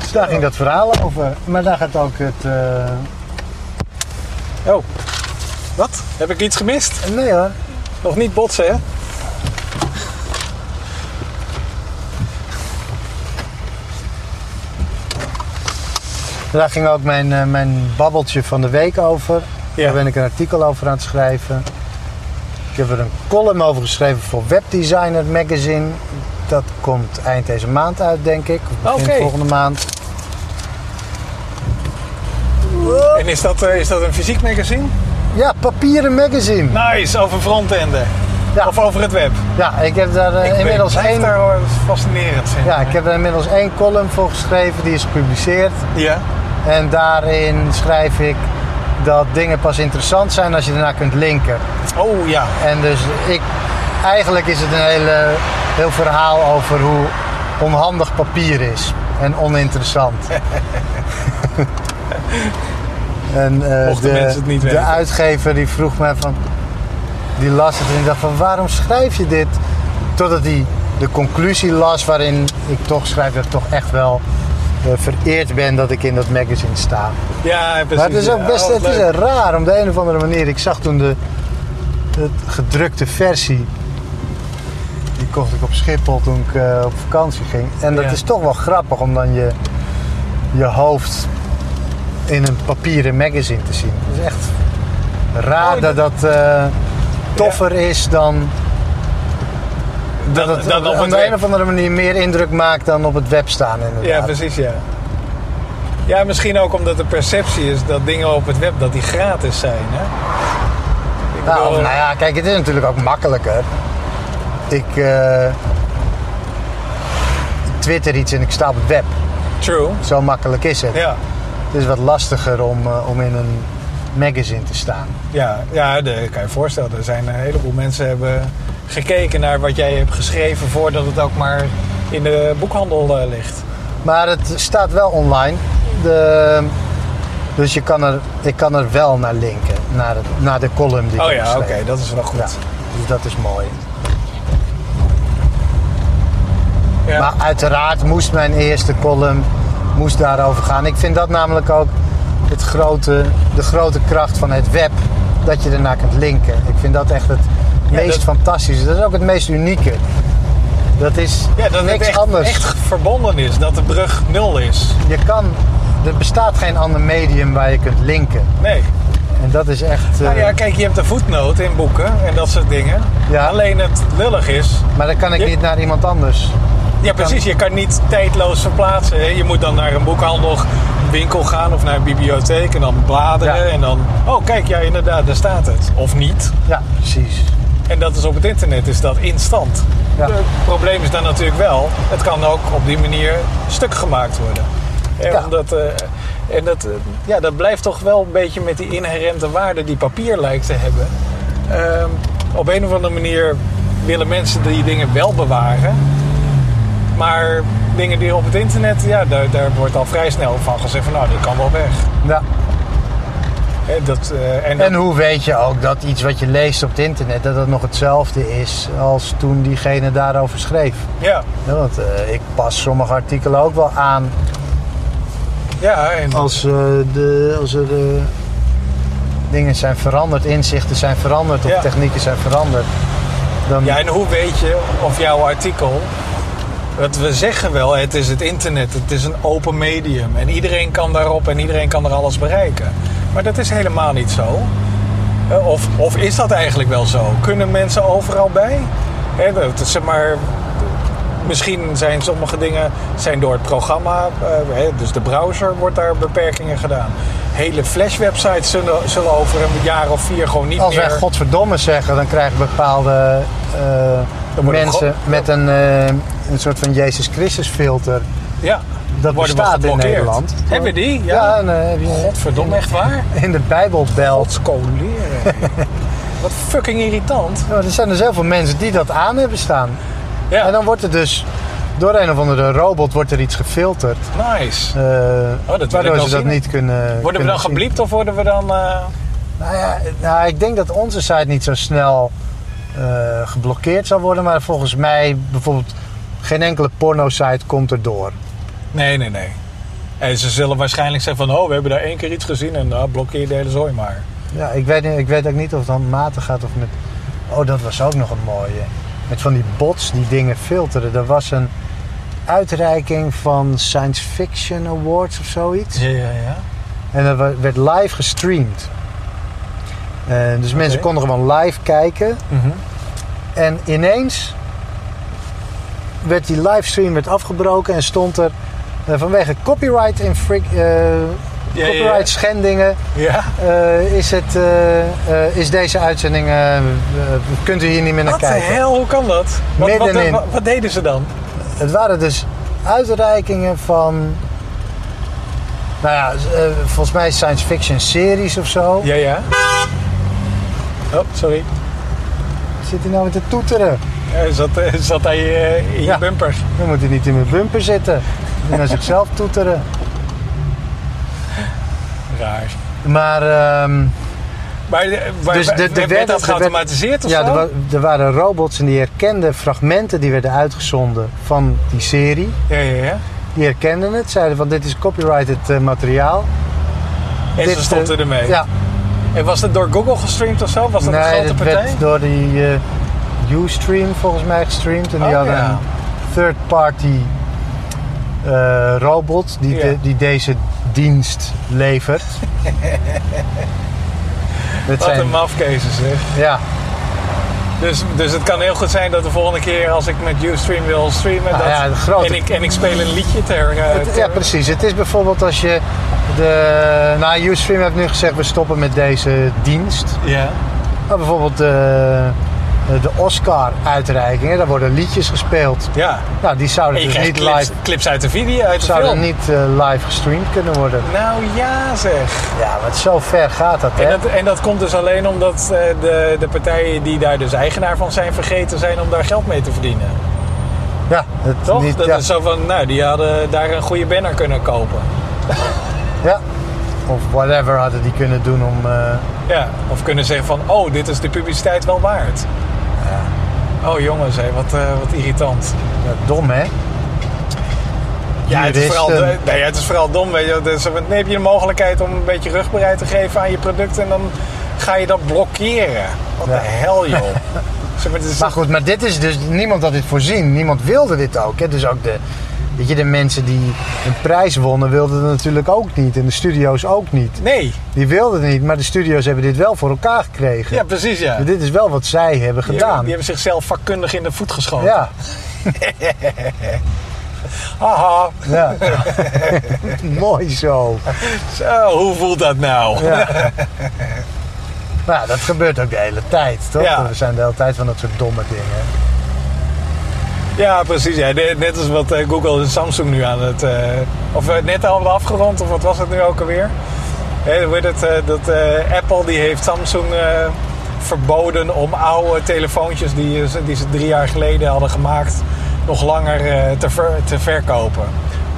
[SPEAKER 1] Dus daar ging dat verhaal over. Maar daar gaat ook het. eh,
[SPEAKER 2] Oh. Wat? Heb ik iets gemist?
[SPEAKER 1] Nee hoor.
[SPEAKER 2] Nog niet botsen, hè?
[SPEAKER 1] Daar ging ook mijn, eh, mijn babbeltje van de week over.
[SPEAKER 2] Ja.
[SPEAKER 1] Daar ben ik een artikel over aan het schrijven. Ik heb er een column over geschreven voor Webdesigner Magazine. Dat komt eind deze maand uit, denk ik. Of begin
[SPEAKER 2] Oké.
[SPEAKER 1] volgende maand.
[SPEAKER 2] En is dat, eh, is dat een fysiek magazine?
[SPEAKER 1] Ja, papieren magazine.
[SPEAKER 2] Nice, over frontenden.
[SPEAKER 1] Ja.
[SPEAKER 2] Of over het web.
[SPEAKER 1] Ja, ik heb daar eh,
[SPEAKER 2] Ik
[SPEAKER 1] inmiddels
[SPEAKER 2] blijf
[SPEAKER 1] één.
[SPEAKER 2] daar wel fascinerend vinden.
[SPEAKER 1] Ja, ik heb er inmiddels één column voor geschreven. Die is gepubliceerd.
[SPEAKER 2] Ja.
[SPEAKER 1] En daarin schrijf ik dat dingen pas interessant zijn als je ernaar kunt linken.
[SPEAKER 2] Oh ja.
[SPEAKER 1] En dus ik, eigenlijk is het een hele, heel verhaal over hoe onhandig papier is en oninteressant. en eh,
[SPEAKER 2] Mochten
[SPEAKER 1] de,
[SPEAKER 2] mensen het niet
[SPEAKER 1] de
[SPEAKER 2] weten.
[SPEAKER 1] uitgever die vroeg mij van, die las het en ik dacht van waarom schrijf je dit? Totdat hij de conclusie las waarin ik toch schrijf dat ik toch echt wel eh, vereerd ben dat ik in dat magazine sta.
[SPEAKER 2] Ja, precies.
[SPEAKER 1] Maar het is ook
[SPEAKER 2] ja.
[SPEAKER 1] best
[SPEAKER 2] Oh,
[SPEAKER 1] het is
[SPEAKER 2] leuk.
[SPEAKER 1] raar om de een of andere manier. Ik zag toen de, de gedrukte versie. Die kocht ik op Schiphol toen ik eh, op vakantie ging. En dat
[SPEAKER 2] Ja.
[SPEAKER 1] is toch wel grappig om dan je, je hoofd in een papieren magazine te zien. Het is echt raar
[SPEAKER 2] Oh,
[SPEAKER 1] dat dat eh, toffer is dan.
[SPEAKER 2] Dan-
[SPEAKER 1] Dat het
[SPEAKER 2] dan op
[SPEAKER 1] op
[SPEAKER 2] het
[SPEAKER 1] de
[SPEAKER 2] web.
[SPEAKER 1] een of andere manier meer indruk maakt dan op het web staan. Inderdaad.
[SPEAKER 2] Ja, precies, ja. Ja, misschien ook omdat de perceptie is dat dingen op het web dat die gratis zijn. Hè? Ik
[SPEAKER 1] Nou,
[SPEAKER 2] bedoel,
[SPEAKER 1] nou ja, kijk, het is natuurlijk ook makkelijker. Ik eh, twitter iets en ik sta op het web.
[SPEAKER 2] True.
[SPEAKER 1] Zo makkelijk is het.
[SPEAKER 2] Ja,
[SPEAKER 1] Het is wat lastiger om, eh, om in een magazine te staan.
[SPEAKER 2] ja, ja de, ik kan je voorstellen. Er zijn een heleboel mensen hebben gekeken naar wat jij hebt geschreven voordat het ook maar in de boekhandel eh, ligt.
[SPEAKER 1] Maar het staat wel online. De, dus je kan er, ik kan er wel naar linken. Naar, het, naar de column die
[SPEAKER 2] Oh
[SPEAKER 1] ik
[SPEAKER 2] ja,
[SPEAKER 1] heb
[SPEAKER 2] oké,
[SPEAKER 1] geschreven.
[SPEAKER 2] dat is wel goed.
[SPEAKER 1] Ja, dus dat is mooi.
[SPEAKER 2] Ja.
[SPEAKER 1] Maar uiteraard moest mijn eerste column moest daarover gaan. Ik vind dat namelijk ook het grote, de grote kracht van het web. Dat je ernaar kunt linken. Ik vind dat echt het meest
[SPEAKER 2] dat-
[SPEAKER 1] fantastische. Dat is ook het meest unieke. Dat is
[SPEAKER 2] Ja, dat
[SPEAKER 1] niks
[SPEAKER 2] het echt,
[SPEAKER 1] anders.
[SPEAKER 2] echt verbonden is. Dat de brug nul is.
[SPEAKER 1] Je kan, er bestaat geen ander medium waar je kunt linken.
[SPEAKER 2] Nee.
[SPEAKER 1] En dat is echt...
[SPEAKER 2] Nou
[SPEAKER 1] eh,
[SPEAKER 2] ja, kijk, je hebt de voetnoot in boeken en dat soort dingen.
[SPEAKER 1] Ja.
[SPEAKER 2] Alleen het lullig is.
[SPEAKER 1] Maar dan kan ik
[SPEAKER 2] Je-
[SPEAKER 1] niet naar iemand anders.
[SPEAKER 2] Ja, precies. Je kan niet tijdloos verplaatsen. hè. Je moet dan naar een boekhandel, winkel gaan of naar een bibliotheek en dan bladeren.
[SPEAKER 1] Ja.
[SPEAKER 2] En dan, oh kijk, ja inderdaad, daar staat het. Of niet.
[SPEAKER 1] Ja, precies.
[SPEAKER 2] En dat is op het internet, is dat instant.
[SPEAKER 1] Ja.
[SPEAKER 2] Het probleem is dan natuurlijk wel, het kan ook op die manier stuk gemaakt worden. En,
[SPEAKER 1] Ja.
[SPEAKER 2] omdat, eh, en dat, eh, ja, dat blijft toch wel een beetje met die inherente waarde die papier lijkt te hebben. Ehm, op een of andere manier willen mensen die dingen wel bewaren. Maar dingen die op het internet, ja, daar, daar wordt al vrij snel van gezegd van nou, dit kan wel weg.
[SPEAKER 1] Ja.
[SPEAKER 2] Hè, dat, eh, en dat-
[SPEAKER 1] En hoe weet je ook dat iets wat je leest op het internet, dat dat nog hetzelfde is als toen diegene daarover schreef?
[SPEAKER 2] ja,
[SPEAKER 1] Ja, want eh, ik pas sommige artikelen ook wel aan
[SPEAKER 2] ja, en,
[SPEAKER 1] als, eh, de, als er eh, dingen zijn veranderd, inzichten zijn veranderd of
[SPEAKER 2] Ja.
[SPEAKER 1] technieken zijn veranderd. Dan,
[SPEAKER 2] Ja, en hoe weet je of jouw artikel. Want we zeggen wel, het is het internet, het is een open medium. En iedereen kan daarop en iedereen kan er alles bereiken. Maar dat is helemaal niet zo. Eh, Of, of is dat eigenlijk wel zo? Kunnen mensen overal bij? Hè, dat is, zeg maar, misschien zijn sommige dingen zijn door het programma, eh, hè, dus de browser wordt daar beperkingen gedaan. Hele flashwebsites zullen, zullen over een jaar of vier gewoon niet
[SPEAKER 1] als
[SPEAKER 2] meer...
[SPEAKER 1] wij godverdomme zeggen, dan krijgen bepaalde eh,
[SPEAKER 2] worden
[SPEAKER 1] mensen
[SPEAKER 2] we-
[SPEAKER 1] met een, eh, een soort van Jezus Christus filter
[SPEAKER 2] Ja,
[SPEAKER 1] Dat
[SPEAKER 2] worden we
[SPEAKER 1] bestaat in
[SPEAKER 2] geblokkeerd.
[SPEAKER 1] Nederland.
[SPEAKER 2] Hebben we die?
[SPEAKER 1] Ja,
[SPEAKER 2] Ja.
[SPEAKER 1] en, eh, heb je-
[SPEAKER 2] Godverdomme, echt waar?
[SPEAKER 1] in de Bijbelbel.
[SPEAKER 2] Wat scoleren. Wat fucking irritant.
[SPEAKER 1] Ja, er zijn dus heel veel mensen die dat aan hebben staan.
[SPEAKER 2] Ja,
[SPEAKER 1] En dan wordt er dus door een of andere robot wordt er iets gefilterd.
[SPEAKER 2] nice.
[SPEAKER 1] eh,
[SPEAKER 2] Oh, wil ik
[SPEAKER 1] waardoor
[SPEAKER 2] wel
[SPEAKER 1] ze dat
[SPEAKER 2] zien.
[SPEAKER 1] niet kunnen.
[SPEAKER 2] Worden we
[SPEAKER 1] kunnen
[SPEAKER 2] dan
[SPEAKER 1] zien.
[SPEAKER 2] gebliept of worden we dan... eh,
[SPEAKER 1] Nou ja, nou, ik denk dat onze site niet zo snel eh, geblokkeerd zal worden. Maar volgens mij bijvoorbeeld geen enkele porno-site komt erdoor.
[SPEAKER 2] Nee, nee, nee. En ze zullen waarschijnlijk zeggen van... Oh, we hebben daar één keer iets gezien en nou, blokkeer de hele zooi maar.
[SPEAKER 1] Ja, ik, weet, niet- ik weet ook niet of het handmatig gaat of met... Oh, dat was ook nog een mooie. Met van die bots die dingen filteren. Er was een uitreiking van Science Fiction Awards of zoiets.
[SPEAKER 2] Ja, ja, ja.
[SPEAKER 1] En dat wa- werd live gestreamd. Eh, dus mensen konden gewoon live kijken.
[SPEAKER 2] Mhm.
[SPEAKER 1] En ineens werd die livestream werd afgebroken en stond er eh, vanwege copyright, infring, eh,
[SPEAKER 2] ja, ja.
[SPEAKER 1] copyright schendingen
[SPEAKER 2] Ja?
[SPEAKER 1] eh, is, het, eh, eh, is deze uitzending. eh, eh, kunt u hier niet meer naar
[SPEAKER 2] Wat de
[SPEAKER 1] kijken?
[SPEAKER 2] hel, hoe kan dat? Wat, wat,
[SPEAKER 1] Middenin.
[SPEAKER 2] wat, wat deden ze dan?
[SPEAKER 1] Het waren dus uitreikingen van. Nou ja, eh, volgens mij science fiction series of zo.
[SPEAKER 2] Ja, ja. Oh, sorry.
[SPEAKER 1] Zit hij nou met te toeteren?
[SPEAKER 2] Eh, Zat, eh, zat hij eh, in
[SPEAKER 1] Ja.
[SPEAKER 2] je bumper?
[SPEAKER 1] Dan moet hij niet in mijn bumper zitten. En naar zichzelf toeteren.
[SPEAKER 2] Raar.
[SPEAKER 1] Maar. ehm,
[SPEAKER 2] Maar, eh, waar-
[SPEAKER 1] Dus de- de
[SPEAKER 2] werd
[SPEAKER 1] wet-
[SPEAKER 2] dat
[SPEAKER 1] de wet-
[SPEAKER 2] geautomatiseerd of
[SPEAKER 1] ja,
[SPEAKER 2] zo?
[SPEAKER 1] er, wa- er waren robots en die herkenden fragmenten die werden uitgezonden van die serie.
[SPEAKER 2] Ja, ja, ja.
[SPEAKER 1] Die herkenden het, zeiden van dit is copyrighted eh, materiaal.
[SPEAKER 2] En
[SPEAKER 1] dit,
[SPEAKER 2] ze stopten
[SPEAKER 1] eh,
[SPEAKER 2] ermee.
[SPEAKER 1] Ja,
[SPEAKER 2] En was dat door Google gestreamd of zo? Was dat een
[SPEAKER 1] nee,
[SPEAKER 2] grote
[SPEAKER 1] dat
[SPEAKER 2] partij?
[SPEAKER 1] werd door die eh, Ustream volgens mij gestreamd. En die
[SPEAKER 2] Oh,
[SPEAKER 1] hadden
[SPEAKER 2] ja.
[SPEAKER 1] een third party eh, robot die,
[SPEAKER 2] Ja.
[SPEAKER 1] de- die deze dienst levert. Dat
[SPEAKER 2] Wat
[SPEAKER 1] zijn-
[SPEAKER 2] een mafkezen zeg.
[SPEAKER 1] Ja.
[SPEAKER 2] Dus, dus het kan heel goed zijn dat de volgende keer als ik met Ustream wil streamen...
[SPEAKER 1] Nou
[SPEAKER 2] dat,
[SPEAKER 1] ja, de grote-
[SPEAKER 2] en, ik, en ik speel een liedje ter... eh,
[SPEAKER 1] Het-
[SPEAKER 2] ter-
[SPEAKER 1] ja, precies. Het is bijvoorbeeld als je de. Nou, Ustream heeft nu gezegd we stoppen met deze dienst.
[SPEAKER 2] Ja.
[SPEAKER 1] Maar bijvoorbeeld de, de Oscar-uitreikingen, daar worden liedjes gespeeld.
[SPEAKER 2] ja.
[SPEAKER 1] Nou, die
[SPEAKER 2] En
[SPEAKER 1] zouden
[SPEAKER 2] je
[SPEAKER 1] dus
[SPEAKER 2] krijgt
[SPEAKER 1] niet
[SPEAKER 2] clips,
[SPEAKER 1] live,
[SPEAKER 2] clips uit de video, uit de
[SPEAKER 1] zouden
[SPEAKER 2] film.
[SPEAKER 1] niet, eh, live gestreamd kunnen worden.
[SPEAKER 2] Nou ja zeg.
[SPEAKER 1] Ja, want zo ver gaat dat,
[SPEAKER 2] En
[SPEAKER 1] hè?
[SPEAKER 2] dat, en dat komt dus alleen omdat eh, de, de partijen die daar dus eigenaar van zijn vergeten zijn om daar geld mee te verdienen.
[SPEAKER 1] Ja, het
[SPEAKER 2] Toch?
[SPEAKER 1] Niet,
[SPEAKER 2] dat
[SPEAKER 1] ja.
[SPEAKER 2] is zo van, nou die hadden daar een goede banner kunnen kopen.
[SPEAKER 1] ja. Of whatever hadden die kunnen doen om... eh,
[SPEAKER 2] Ja. Of kunnen zeggen van, oh dit is de publiciteit wel waard. Oh jongens, hé, wat, eh, wat irritant.
[SPEAKER 1] ja, dom, hè?
[SPEAKER 2] Ja, het is,
[SPEAKER 1] Juristen.
[SPEAKER 2] vooral, nee, het is vooral dom. Weet je. wel. Dus, dan heb je de mogelijkheid om een beetje rugbereid te geven aan je product en dan ga je dat blokkeren. Wat
[SPEAKER 1] Ja.
[SPEAKER 2] de hel, joh. Zeg maar, het is-
[SPEAKER 1] Maar goed, maar dit is dus... Niemand had dit voorzien. Niemand wilde dit ook, hè? Dus ook de... Weet je, de mensen die een prijs wonnen wilden het natuurlijk ook niet. En de studio's ook niet.
[SPEAKER 2] Nee,
[SPEAKER 1] Die wilden het niet, maar de studio's hebben dit wel voor elkaar gekregen.
[SPEAKER 2] ja, precies, ja.
[SPEAKER 1] Maar Dit is wel wat zij hebben
[SPEAKER 2] Die,
[SPEAKER 1] gedaan.
[SPEAKER 2] die hebben zichzelf vakkundig in de voet geschoten.
[SPEAKER 1] ja,
[SPEAKER 2] Haha,
[SPEAKER 1] ja. Mooi zo.
[SPEAKER 2] zo, hoe voelt dat nou?
[SPEAKER 1] Ja. nou, dat gebeurt ook de hele tijd, toch?
[SPEAKER 2] Ja.
[SPEAKER 1] We zijn de hele tijd van dat soort domme dingen.
[SPEAKER 2] Ja, precies. Ja. Ne- Net als wat eh, Google en Samsung nu aan het... eh, of eh, net al hadden afgerond, of wat was het nu ook alweer? Hè, hoe heet het, eh, dat eh, Apple die heeft Samsung eh, verboden om oude telefoontjes... Die, eh, ze- die ze drie jaar geleden hadden gemaakt, nog langer eh, te, ver- te verkopen.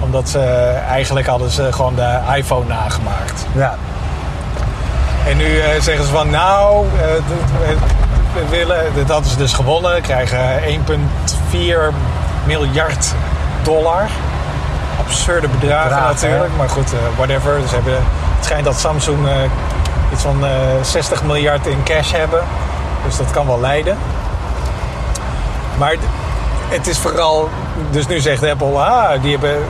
[SPEAKER 2] Omdat ze eh, eigenlijk hadden ze gewoon de iPhone nagemaakt.
[SPEAKER 1] Ja,
[SPEAKER 2] En nu eh, zeggen ze van nou, eh, d- eh, we willen, dit hadden ze dus gewonnen, krijgen eh, 1,4 miljard dollar. Absurde bedragen
[SPEAKER 1] Bedragen,
[SPEAKER 2] natuurlijk,
[SPEAKER 1] hè?
[SPEAKER 2] maar goed, eh, whatever. Ze hebben, het schijnt dat Samsung eh, iets van eh, 60 miljard in cash hebben, dus dat kan wel leiden. Maar d- het is vooral, dus nu zegt Apple, ah, die, hebben,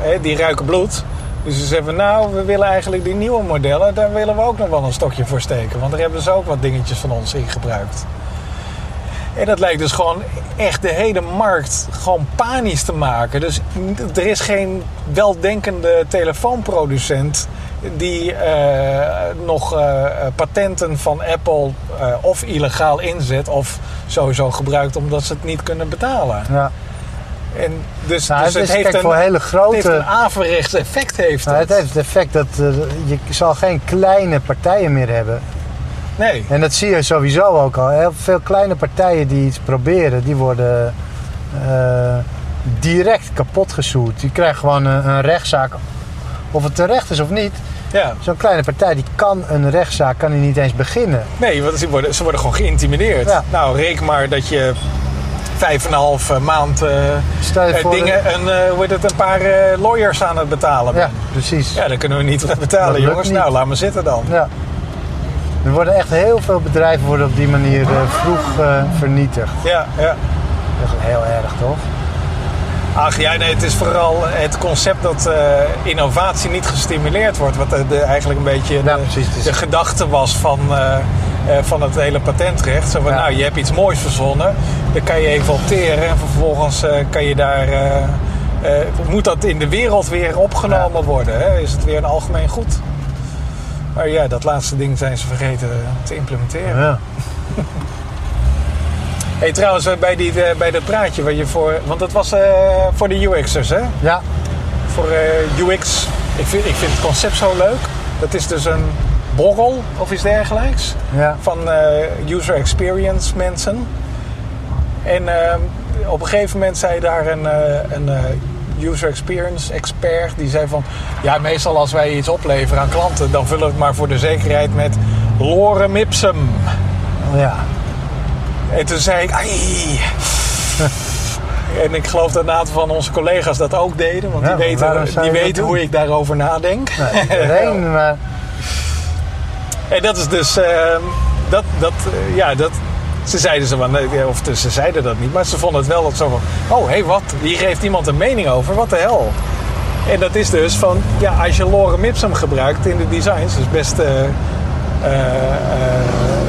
[SPEAKER 2] hè, die ruiken bloed. Dus ze zeggen, nou, we willen eigenlijk die nieuwe modellen, daar willen we ook nog wel een stokje voor steken. Want daar hebben ze ook wat dingetjes van ons in gebruikt. En dat lijkt dus gewoon echt de hele markt gewoon panisch te maken. Dus er is geen weldenkende telefoonproducent die eh, nog eh, patenten van Apple eh, of illegaal inzet of sowieso gebruikt omdat ze het niet kunnen betalen.
[SPEAKER 1] ja.
[SPEAKER 2] En dus,
[SPEAKER 1] Nou,
[SPEAKER 2] dus
[SPEAKER 1] het is kijk, voor hele
[SPEAKER 2] het heeft een
[SPEAKER 1] grote...
[SPEAKER 2] averechts effect. Heeft
[SPEAKER 1] Nou, het
[SPEAKER 2] het.
[SPEAKER 1] heeft het effect dat eh, je zal geen kleine partijen meer hebben.
[SPEAKER 2] Nee,
[SPEAKER 1] En dat zie je sowieso ook al. Heel veel kleine partijen die iets proberen, die worden eh, direct kapot gesoerd. Die krijgen gewoon een, een rechtszaak. Of het terecht is of niet.
[SPEAKER 2] ja.
[SPEAKER 1] Zo'n kleine partij die kan een rechtszaak kan die niet eens beginnen.
[SPEAKER 2] nee want ze worden, ze worden gewoon geïntimideerd.
[SPEAKER 1] Ja.
[SPEAKER 2] Nou, reken maar dat je vijf en een half eh, maand... eh,
[SPEAKER 1] Stel je
[SPEAKER 2] Eh,
[SPEAKER 1] voor.
[SPEAKER 2] dingen, een, eh, hoe heet het, een paar eh, lawyers aan het betalen.
[SPEAKER 1] Ja,
[SPEAKER 2] bent.
[SPEAKER 1] precies.
[SPEAKER 2] ja, dat kunnen we niet
[SPEAKER 1] Dat
[SPEAKER 2] betalen,
[SPEAKER 1] lukt
[SPEAKER 2] jongens.
[SPEAKER 1] niet.
[SPEAKER 2] Nou, laat maar zitten dan.
[SPEAKER 1] Ja. Er worden echt heel veel bedrijven worden op die manier eh, vroeg eh, vernietigd.
[SPEAKER 2] Ja, ja.
[SPEAKER 1] Dat is heel erg, toch?
[SPEAKER 2] Ach ja, nee, het is vooral het concept dat eh, innovatie niet gestimuleerd wordt. Wat de, de- eigenlijk een beetje
[SPEAKER 1] Ja,
[SPEAKER 2] de,
[SPEAKER 1] precies, het is-
[SPEAKER 2] de gedachte was van, eh, eh, van het hele patentrecht. Zo van,
[SPEAKER 1] Ja.
[SPEAKER 2] nou, je hebt iets moois verzonnen. Dan kan je even opteren en vervolgens eh, kan je daar... eh, eh, moet dat in de wereld weer opgenomen worden? Hè? Is het weer een algemeen goed? Maar ja, dat laatste ding zijn ze vergeten te implementeren.
[SPEAKER 1] Ja.
[SPEAKER 2] Hey, trouwens, eh, bij, die, eh, bij dat praatje waar je voor... Want dat was eh, voor de UX'ers, hè?
[SPEAKER 1] Ja,
[SPEAKER 2] voor eh, UX. Ik vind, ik vind het concept zo leuk. Dat is dus een borrel of iets dergelijks
[SPEAKER 1] ja.
[SPEAKER 2] van eh, user experience mensen. En eh, op een gegeven moment zei daar een, eh, een eh, user experience expert die zei van ja, meestal als wij iets opleveren aan klanten, dan vullen we het maar voor de zekerheid met lorem ipsum.
[SPEAKER 1] ja.
[SPEAKER 2] En toen zei ik, ai. En ik geloof dat een aantal van onze collega's dat ook deden. Want
[SPEAKER 1] Ja,
[SPEAKER 2] die
[SPEAKER 1] waarom
[SPEAKER 2] weten,
[SPEAKER 1] zou
[SPEAKER 2] die
[SPEAKER 1] je dat
[SPEAKER 2] weten
[SPEAKER 1] doen?
[SPEAKER 2] hoe ik daarover nadenk.
[SPEAKER 1] Nou, iedereen, maar
[SPEAKER 2] En dat is dus... ehm, dat, dat, eh, ja, dat, ze zeiden ze, van, eh, of ze zeiden dat niet. Maar ze vonden het wel dat zo van... Oh, hé, wat? Hier geeft iemand een mening over. Wat de hel? En dat is dus van... Ja, als je lorem ipsum gebruikt in de designs... Dus best eh, eh, eh,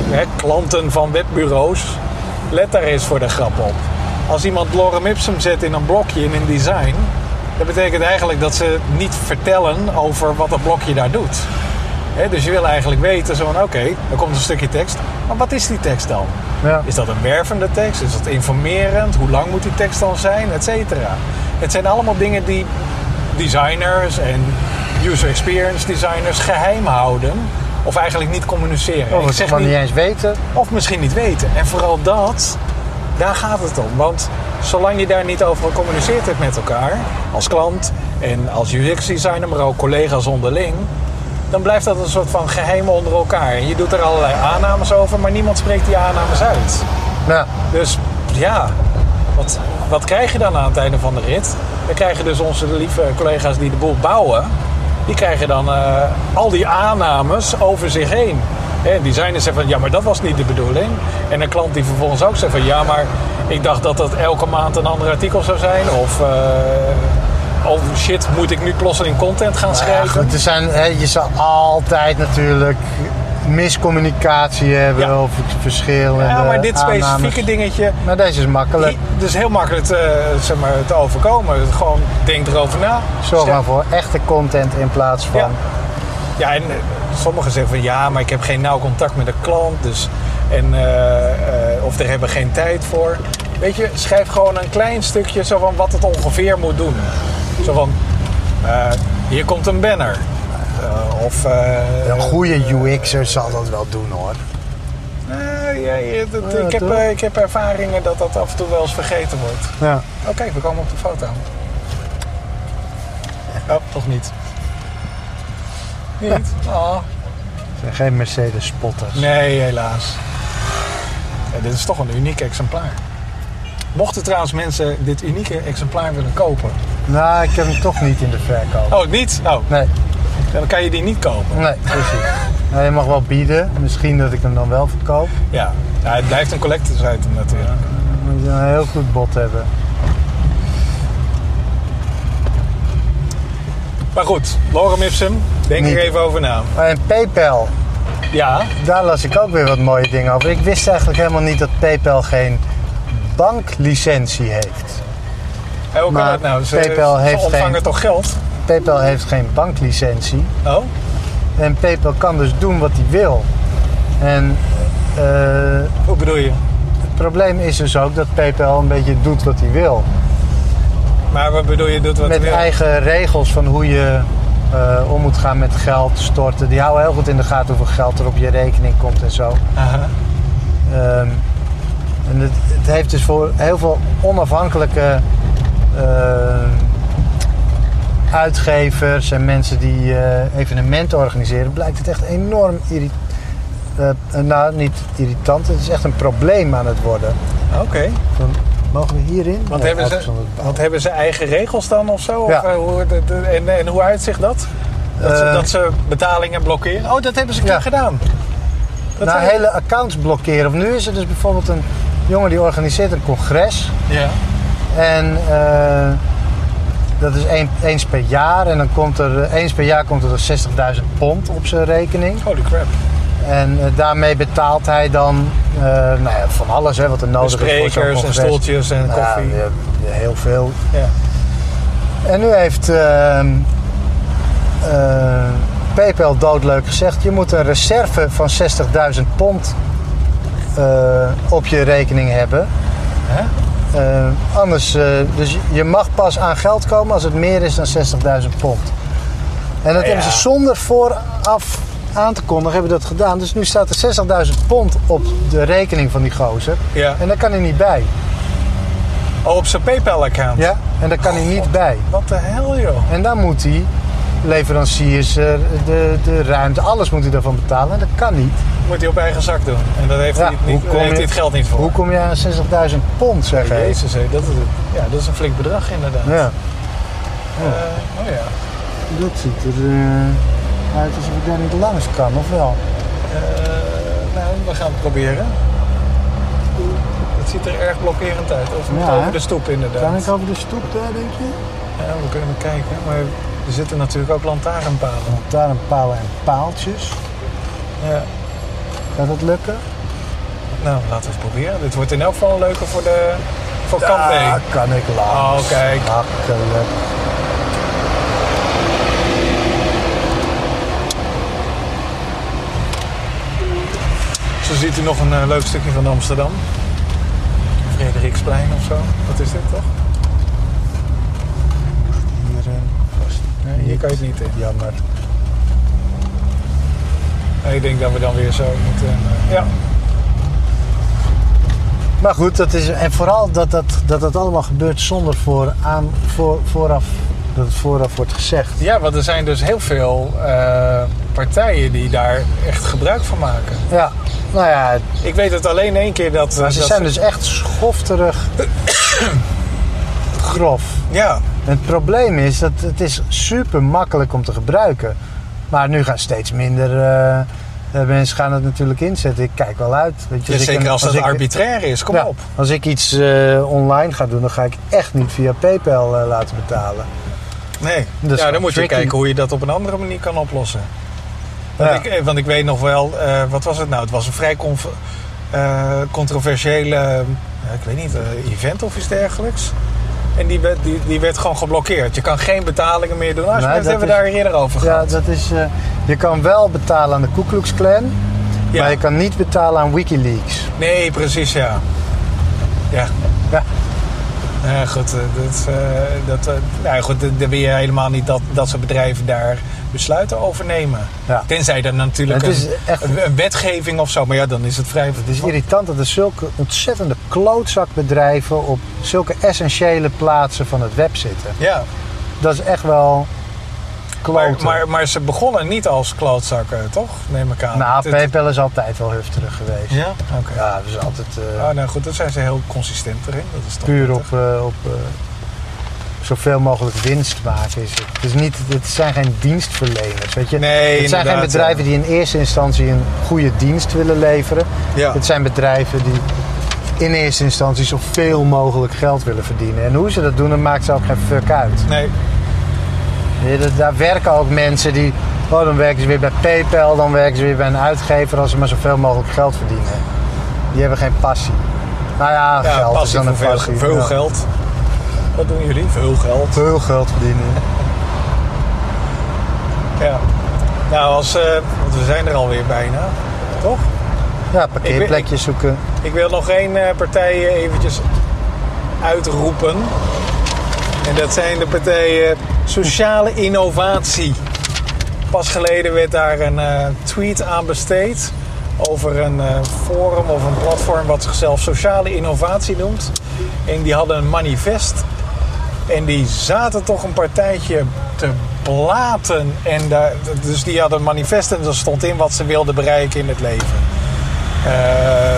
[SPEAKER 2] hè, klanten van webbureaus... Let daar eens voor de grap op. Als iemand lorem ipsum zet in een blokje in een design, dat betekent eigenlijk dat ze niet vertellen over wat dat blokje daar doet. Hè, dus je wil eigenlijk weten, zo van oké, er komt een stukje tekst, maar wat is die tekst dan?
[SPEAKER 1] Ja.
[SPEAKER 2] Is dat een wervende tekst? Is dat informerend? Hoe lang moet die tekst dan zijn? Et cetera. Het zijn allemaal dingen die designers en user experience designers geheim houden. Of eigenlijk niet communiceren.
[SPEAKER 1] Of
[SPEAKER 2] Ik
[SPEAKER 1] het
[SPEAKER 2] zeg
[SPEAKER 1] gewoon
[SPEAKER 2] niet-
[SPEAKER 1] niet eens weten.
[SPEAKER 2] of misschien niet weten. En vooral dat, daar gaat het om. Want zolang je daar niet over gecommuniceerd hebt met elkaar, als klant en als UX-designer, maar ook collega's onderling, dan blijft dat een soort van geheim onder elkaar. En je doet er allerlei aannames over, maar niemand spreekt die aannames uit.
[SPEAKER 1] Ja.
[SPEAKER 2] Dus ja, wat, wat krijg je dan aan het einde van de rit? Dan krijgen dus onze lieve collega's die de boel bouwen, die krijgen dan eh, al die aannames over zich heen. Hè, En designers zeggen van ja, maar dat was niet de bedoeling. En een klant die vervolgens ook zegt van ja, maar ik dacht dat dat elke maand een ander artikel zou zijn. Of eh, oh shit, moet ik nu plotseling content gaan
[SPEAKER 1] Nou Ja,
[SPEAKER 2] schrijven?
[SPEAKER 1] goed, er zijn, hè, je zal altijd natuurlijk miscommunicatie hebben
[SPEAKER 2] Ja.
[SPEAKER 1] of verschillen.
[SPEAKER 2] Ja, maar dit
[SPEAKER 1] eh, aannames.
[SPEAKER 2] specifieke dingetje,
[SPEAKER 1] Maar deze is makkelijk.
[SPEAKER 2] dat is heel makkelijk te, eh, zeg maar, te overkomen. Gewoon denk erover na.
[SPEAKER 1] Zorg
[SPEAKER 2] Stel-
[SPEAKER 1] maar voor echte content in plaats van.
[SPEAKER 2] Ja. Ja, en eh, sommigen zeggen van ja, maar ik heb geen nauw contact met de klant. Dus, en, eh, eh, of er hebben geen tijd voor. Weet je, schrijf gewoon een klein stukje zo van wat het ongeveer moet doen. Zo van, eh, hier komt een banner. Eh, of... eh,
[SPEAKER 1] Een goede UX'er zal dat wel doen hoor.
[SPEAKER 2] eh, ja, ja, dat-
[SPEAKER 1] Ja,
[SPEAKER 2] ik, heb,
[SPEAKER 1] toch?
[SPEAKER 2] eh, ik heb ervaringen dat dat af en toe wel eens vergeten wordt.
[SPEAKER 1] Ja.
[SPEAKER 2] Oké, we komen op de foto. Oh, toch niet. Niet? Oh.
[SPEAKER 1] Het zijn geen Mercedes spotters.
[SPEAKER 2] Nee, helaas. Ja, dit is toch een uniek exemplaar. Mochten trouwens mensen dit unieke exemplaar willen kopen.
[SPEAKER 1] Nou, ik heb hem toch niet in de verkoop.
[SPEAKER 2] Oh, niet? Oh,
[SPEAKER 1] Nee,
[SPEAKER 2] dan kan je die niet kopen.
[SPEAKER 1] nee, precies. Nou, je mag wel bieden. Misschien dat ik hem dan wel verkoop.
[SPEAKER 2] Ja, ja het blijft een collectors item natuurlijk.
[SPEAKER 1] Dan moet je een heel goed bod hebben.
[SPEAKER 2] Maar goed, Lorem Ipsum, denk
[SPEAKER 1] Niet.
[SPEAKER 2] er even over na.
[SPEAKER 1] En PayPal,
[SPEAKER 2] Ja,
[SPEAKER 1] daar las ik ook weer wat mooie dingen over. Ik wist eigenlijk helemaal niet dat PayPal geen banklicentie heeft.
[SPEAKER 2] en hoe kan
[SPEAKER 1] Maar
[SPEAKER 2] dat nou? Ze,
[SPEAKER 1] PayPal
[SPEAKER 2] ze
[SPEAKER 1] heeft
[SPEAKER 2] ontvangen
[SPEAKER 1] geen-
[SPEAKER 2] toch geld?
[SPEAKER 1] PayPal heeft geen banklicentie.
[SPEAKER 2] Oh,
[SPEAKER 1] En PayPal kan dus doen wat hij wil. En eh,
[SPEAKER 2] hoe bedoel je?
[SPEAKER 1] het probleem is dus ook dat PayPal een beetje doet wat hij wil.
[SPEAKER 2] Maar wat bedoel je, doet wat
[SPEAKER 1] met
[SPEAKER 2] je wil?
[SPEAKER 1] eigen regels van hoe je eh, om moet gaan met geld storten. Die houden heel goed in de gaten hoeveel geld er op je rekening komt en zo.
[SPEAKER 2] Aha.
[SPEAKER 1] Ehm, en het, het heeft dus voor heel veel onafhankelijke ehm, uitgevers en mensen die eh, evenementen organiseren, blijkt het echt enorm irri- eh, eh, nou, niet irritant, het is echt een probleem aan het worden.
[SPEAKER 2] Oké,
[SPEAKER 1] Van, mogen we hierin?
[SPEAKER 2] want,
[SPEAKER 1] Nee,
[SPEAKER 2] hebben ze,
[SPEAKER 1] uitgezonderd bouwen.
[SPEAKER 2] want hebben ze eigen regels dan of zo?
[SPEAKER 1] Ja.
[SPEAKER 2] Of, eh, hoe, de- de- en, en hoe uitzicht dat? Dat ze,
[SPEAKER 1] Eh,
[SPEAKER 2] dat ze betalingen blokkeren? Oh, dat hebben ze een keer
[SPEAKER 1] Ja.
[SPEAKER 2] gedaan. Dat
[SPEAKER 1] nou,
[SPEAKER 2] hebben-
[SPEAKER 1] hele accounts blokkeren. Of nu is er dus bijvoorbeeld een jongen die organiseert een congres.
[SPEAKER 2] Ja.
[SPEAKER 1] En eh, dat is één, eens per jaar. En dan komt er eh, eens per jaar komt er dan 60.000 pond op zijn rekening.
[SPEAKER 2] Holy crap.
[SPEAKER 1] En eh, daarmee betaalt hij dan eh, nou ja, van alles hè, wat er nodig is voor zo'n
[SPEAKER 2] Sprekers en
[SPEAKER 1] congres.
[SPEAKER 2] stoeltjes en
[SPEAKER 1] Nou ja,
[SPEAKER 2] koffie.
[SPEAKER 1] ja, heel veel.
[SPEAKER 2] Ja.
[SPEAKER 1] En nu heeft ehm eh, PayPal doodleuk gezegd: je moet een reserve van 60.000 pond eh, op je rekening hebben.
[SPEAKER 2] Hè?
[SPEAKER 1] Eh, anders, eh, dus je mag pas aan geld komen als het meer is dan 60.000 pond. En dat
[SPEAKER 2] Ja.
[SPEAKER 1] hebben ze zonder vooraf aan te kondigen, hebben dat gedaan. Dus nu staat er 60.000 pond op de rekening van die gozer.
[SPEAKER 2] Ja.
[SPEAKER 1] En daar kan hij niet bij.
[SPEAKER 2] Oh, op zijn PayPal-account.
[SPEAKER 1] Ja? En daar kan hij niet bij.
[SPEAKER 2] Wat de hel, joh.
[SPEAKER 1] En dan moet hij leveranciers, eh, de, de ruimte, alles moet hij daarvan betalen. En dat kan niet.
[SPEAKER 2] Moet hij op eigen zak doen. En daar heeft,
[SPEAKER 1] Ja,
[SPEAKER 2] hij, het niet,
[SPEAKER 1] hoe kom
[SPEAKER 2] heeft
[SPEAKER 1] je-
[SPEAKER 2] hij het geld niet voor.
[SPEAKER 1] Hoe kom je aan 60.000 pond, zeg hij?
[SPEAKER 2] Jezus, hé, dat, is, ja, dat is een flink bedrag inderdaad.
[SPEAKER 1] Ja,
[SPEAKER 2] Eh, oh ja.
[SPEAKER 1] dat ziet er eh, uit alsof ik daar niet langs kan, of wel?
[SPEAKER 2] Eh, nou, we gaan het proberen. Het ziet er erg blokkerend uit. Of we
[SPEAKER 1] Ja,
[SPEAKER 2] moeten over
[SPEAKER 1] hè?
[SPEAKER 2] de stoep inderdaad.
[SPEAKER 1] Kan ik over de stoep daar, denk je?
[SPEAKER 2] Ja, we kunnen kijken. Maar er zitten natuurlijk ook lantaarnpalen.
[SPEAKER 1] Want daar een palen en paaltjes.
[SPEAKER 2] Ja.
[SPEAKER 1] Gaat dat lukken?
[SPEAKER 2] Nou, laten we het proberen. Dit wordt in elk geval leuker voor de voor kant B.
[SPEAKER 1] Daar Ah, kan ik langs.
[SPEAKER 2] Oh, kijk.
[SPEAKER 1] Makkelijk.
[SPEAKER 2] Zo ziet u nog een eh, leuk stukje van Amsterdam. Frederiksplein of zo. Wat is dit toch?
[SPEAKER 1] Hierin eh, vast
[SPEAKER 2] Nee, hier kan je het niet in.
[SPEAKER 1] Jammer.
[SPEAKER 2] Nee, ik denk dat we dan weer zo moeten. eh, ja.
[SPEAKER 1] Maar goed, dat is, en vooral dat dat, dat dat allemaal gebeurt zonder voor, aan, voor, vooraf, dat het vooraf wordt gezegd.
[SPEAKER 2] ja, want er zijn dus heel veel eh, partijen die daar echt gebruik van maken.
[SPEAKER 1] Ja, nou ja,
[SPEAKER 2] Ik weet het alleen één keer dat. eh,
[SPEAKER 1] maar ze
[SPEAKER 2] dat-
[SPEAKER 1] zijn dus echt schofterig grof.
[SPEAKER 2] Ja,
[SPEAKER 1] En het probleem is dat het is super makkelijk om te gebruiken. Maar nu gaan steeds minder eh, eh, mensen gaan het natuurlijk inzetten. Ik kijk wel uit. Weet je,
[SPEAKER 2] ja,
[SPEAKER 1] Dus ik
[SPEAKER 2] zeker
[SPEAKER 1] een-
[SPEAKER 2] als dat
[SPEAKER 1] ik-
[SPEAKER 2] arbitrair is. Kom
[SPEAKER 1] Ja,
[SPEAKER 2] op.
[SPEAKER 1] Als ik iets eh, online ga doen, dan ga ik echt niet via PayPal eh, laten betalen.
[SPEAKER 2] Nee.
[SPEAKER 1] Dat is
[SPEAKER 2] ja,
[SPEAKER 1] wel
[SPEAKER 2] dan moet je
[SPEAKER 1] dus tricky.
[SPEAKER 2] kijken hoe je dat op een andere manier kan oplossen. Want,
[SPEAKER 1] Ja.
[SPEAKER 2] ik, eh, want ik weet nog wel, eh, wat was het nou? Het was een vrij conf- eh, controversiële, eh, ik weet niet, eh, event of iets dergelijks. En die werd, die, die werd gewoon geblokkeerd. Je kan geen betalingen meer doen. Nou,
[SPEAKER 1] Nee,
[SPEAKER 2] dat
[SPEAKER 1] dat
[SPEAKER 2] hebben we
[SPEAKER 1] is-
[SPEAKER 2] daar eerder over
[SPEAKER 1] Ja,
[SPEAKER 2] gehad.
[SPEAKER 1] dat is. eh, je kan wel betalen aan de Ku Klux Klan,
[SPEAKER 2] Ja.
[SPEAKER 1] maar je kan niet betalen aan WikiLeaks.
[SPEAKER 2] Nee, precies, ja. Ja.
[SPEAKER 1] Ja.
[SPEAKER 2] Nou ja, goed, eh, dat, eh, dat, eh, nou ja, goed, eh, dan wil je helemaal niet dat, dat soort bedrijven daar besluiten over nemen.
[SPEAKER 1] Ja.
[SPEAKER 2] Tenzij er natuurlijk
[SPEAKER 1] Het is
[SPEAKER 2] een,
[SPEAKER 1] echt-
[SPEAKER 2] een- een wetgeving of zo, maar ja, dan is het vrij...
[SPEAKER 1] Het is irritant dat er zulke ontzettende klootzakbedrijven op zulke essentiële plaatsen van het web zitten.
[SPEAKER 2] Ja,
[SPEAKER 1] Dat is echt wel
[SPEAKER 2] maar,
[SPEAKER 1] kloten.
[SPEAKER 2] maar, maar ze begonnen niet als klootzakken, toch? Neem ik aan.
[SPEAKER 1] nou,
[SPEAKER 2] Het-
[SPEAKER 1] PayPal is altijd wel heftig geweest.
[SPEAKER 2] Ja? Oké.
[SPEAKER 1] Ja, dat is altijd eh,
[SPEAKER 2] Ah, nou goed, daar zijn ze heel consistent erin. Dat is toch
[SPEAKER 1] puur op,
[SPEAKER 2] prettig.
[SPEAKER 1] eh, op eh, zoveel mogelijk winst maken. Is het. Het, is niet, het zijn geen dienstverleners. Weet je?
[SPEAKER 2] Nee,
[SPEAKER 1] het zijn geen
[SPEAKER 2] inderdaad,
[SPEAKER 1] bedrijven
[SPEAKER 2] ja.
[SPEAKER 1] die in eerste instantie een goede dienst willen leveren.
[SPEAKER 2] Ja.
[SPEAKER 1] Het zijn bedrijven die in eerste instantie zoveel mogelijk geld willen verdienen. En hoe ze dat doen, dat maakt ze ook geen fuck uit.
[SPEAKER 2] Nee,
[SPEAKER 1] Ja, dat- daar werken ook mensen die. Oh, dan werken ze weer bij PayPal, dan werken ze weer bij een uitgever als ze maar zoveel mogelijk geld verdienen. Die hebben geen passie. Nou ja,
[SPEAKER 2] ja,
[SPEAKER 1] geld is
[SPEAKER 2] passie
[SPEAKER 1] dan
[SPEAKER 2] voor
[SPEAKER 1] een
[SPEAKER 2] veel,
[SPEAKER 1] passie.
[SPEAKER 2] veel
[SPEAKER 1] ja.
[SPEAKER 2] geld. Wat doen jullie? Veel geld.
[SPEAKER 1] Veel geld verdienen.
[SPEAKER 2] Ja. Nou, als, eh, want we zijn er alweer bijna, toch?
[SPEAKER 1] Ja, parkeerplekjes zoeken.
[SPEAKER 2] Ik wil nog één eh, partij eh, eventjes uitroepen. En dat zijn de partijen Sociale Innovatie. Pas geleden werd daar een eh, tweet aan besteed over een eh, forum of een platform wat zichzelf Sociale Innovatie noemt. En die hadden een manifest. En die zaten toch een partijtje te blaten. En daar, dus die hadden een manifest en daar stond in wat ze wilden bereiken in het leven. Eh,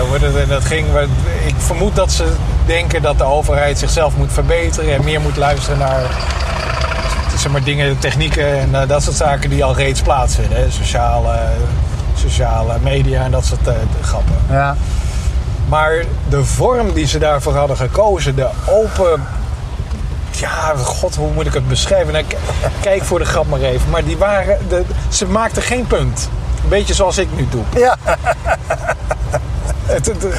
[SPEAKER 2] hoe heet het? En dat ging, we- ik vermoed dat ze denken dat de overheid zichzelf moet verbeteren en meer moet luisteren naar zeg maar, dingen, technieken en eh, dat soort zaken die al reeds plaatsvinden. Hè? Sociale, sociale media en dat soort eh, grappen.
[SPEAKER 1] Ja.
[SPEAKER 2] Maar de vorm die ze daarvoor hadden gekozen, de open. Ja, god, hoe moet ik het beschrijven? Nou, k- kijk voor de grap maar even. Maar die waren, de, ze maakten geen punt. Een beetje zoals ik nu doe.
[SPEAKER 1] Ja.
[SPEAKER 2] Het, het, het-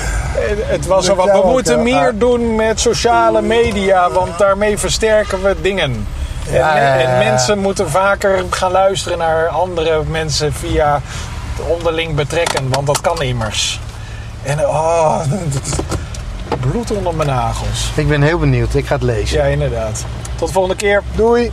[SPEAKER 2] het was zo
[SPEAKER 1] Lukt
[SPEAKER 2] wat.
[SPEAKER 1] jou
[SPEAKER 2] We
[SPEAKER 1] ook,
[SPEAKER 2] moeten
[SPEAKER 1] ja.
[SPEAKER 2] meer doen met sociale media, want daarmee versterken we dingen. En,
[SPEAKER 1] Ja,
[SPEAKER 2] me-
[SPEAKER 1] ja, ja,
[SPEAKER 2] en
[SPEAKER 1] ja.
[SPEAKER 2] mensen moeten vaker gaan luisteren naar andere mensen via het onderling betrekken, want dat kan immers. En oh, bloed onder mijn nagels.
[SPEAKER 1] Ik ben heel benieuwd. Ik ga het lezen.
[SPEAKER 2] Ja, inderdaad. Tot de volgende keer.
[SPEAKER 1] Doei.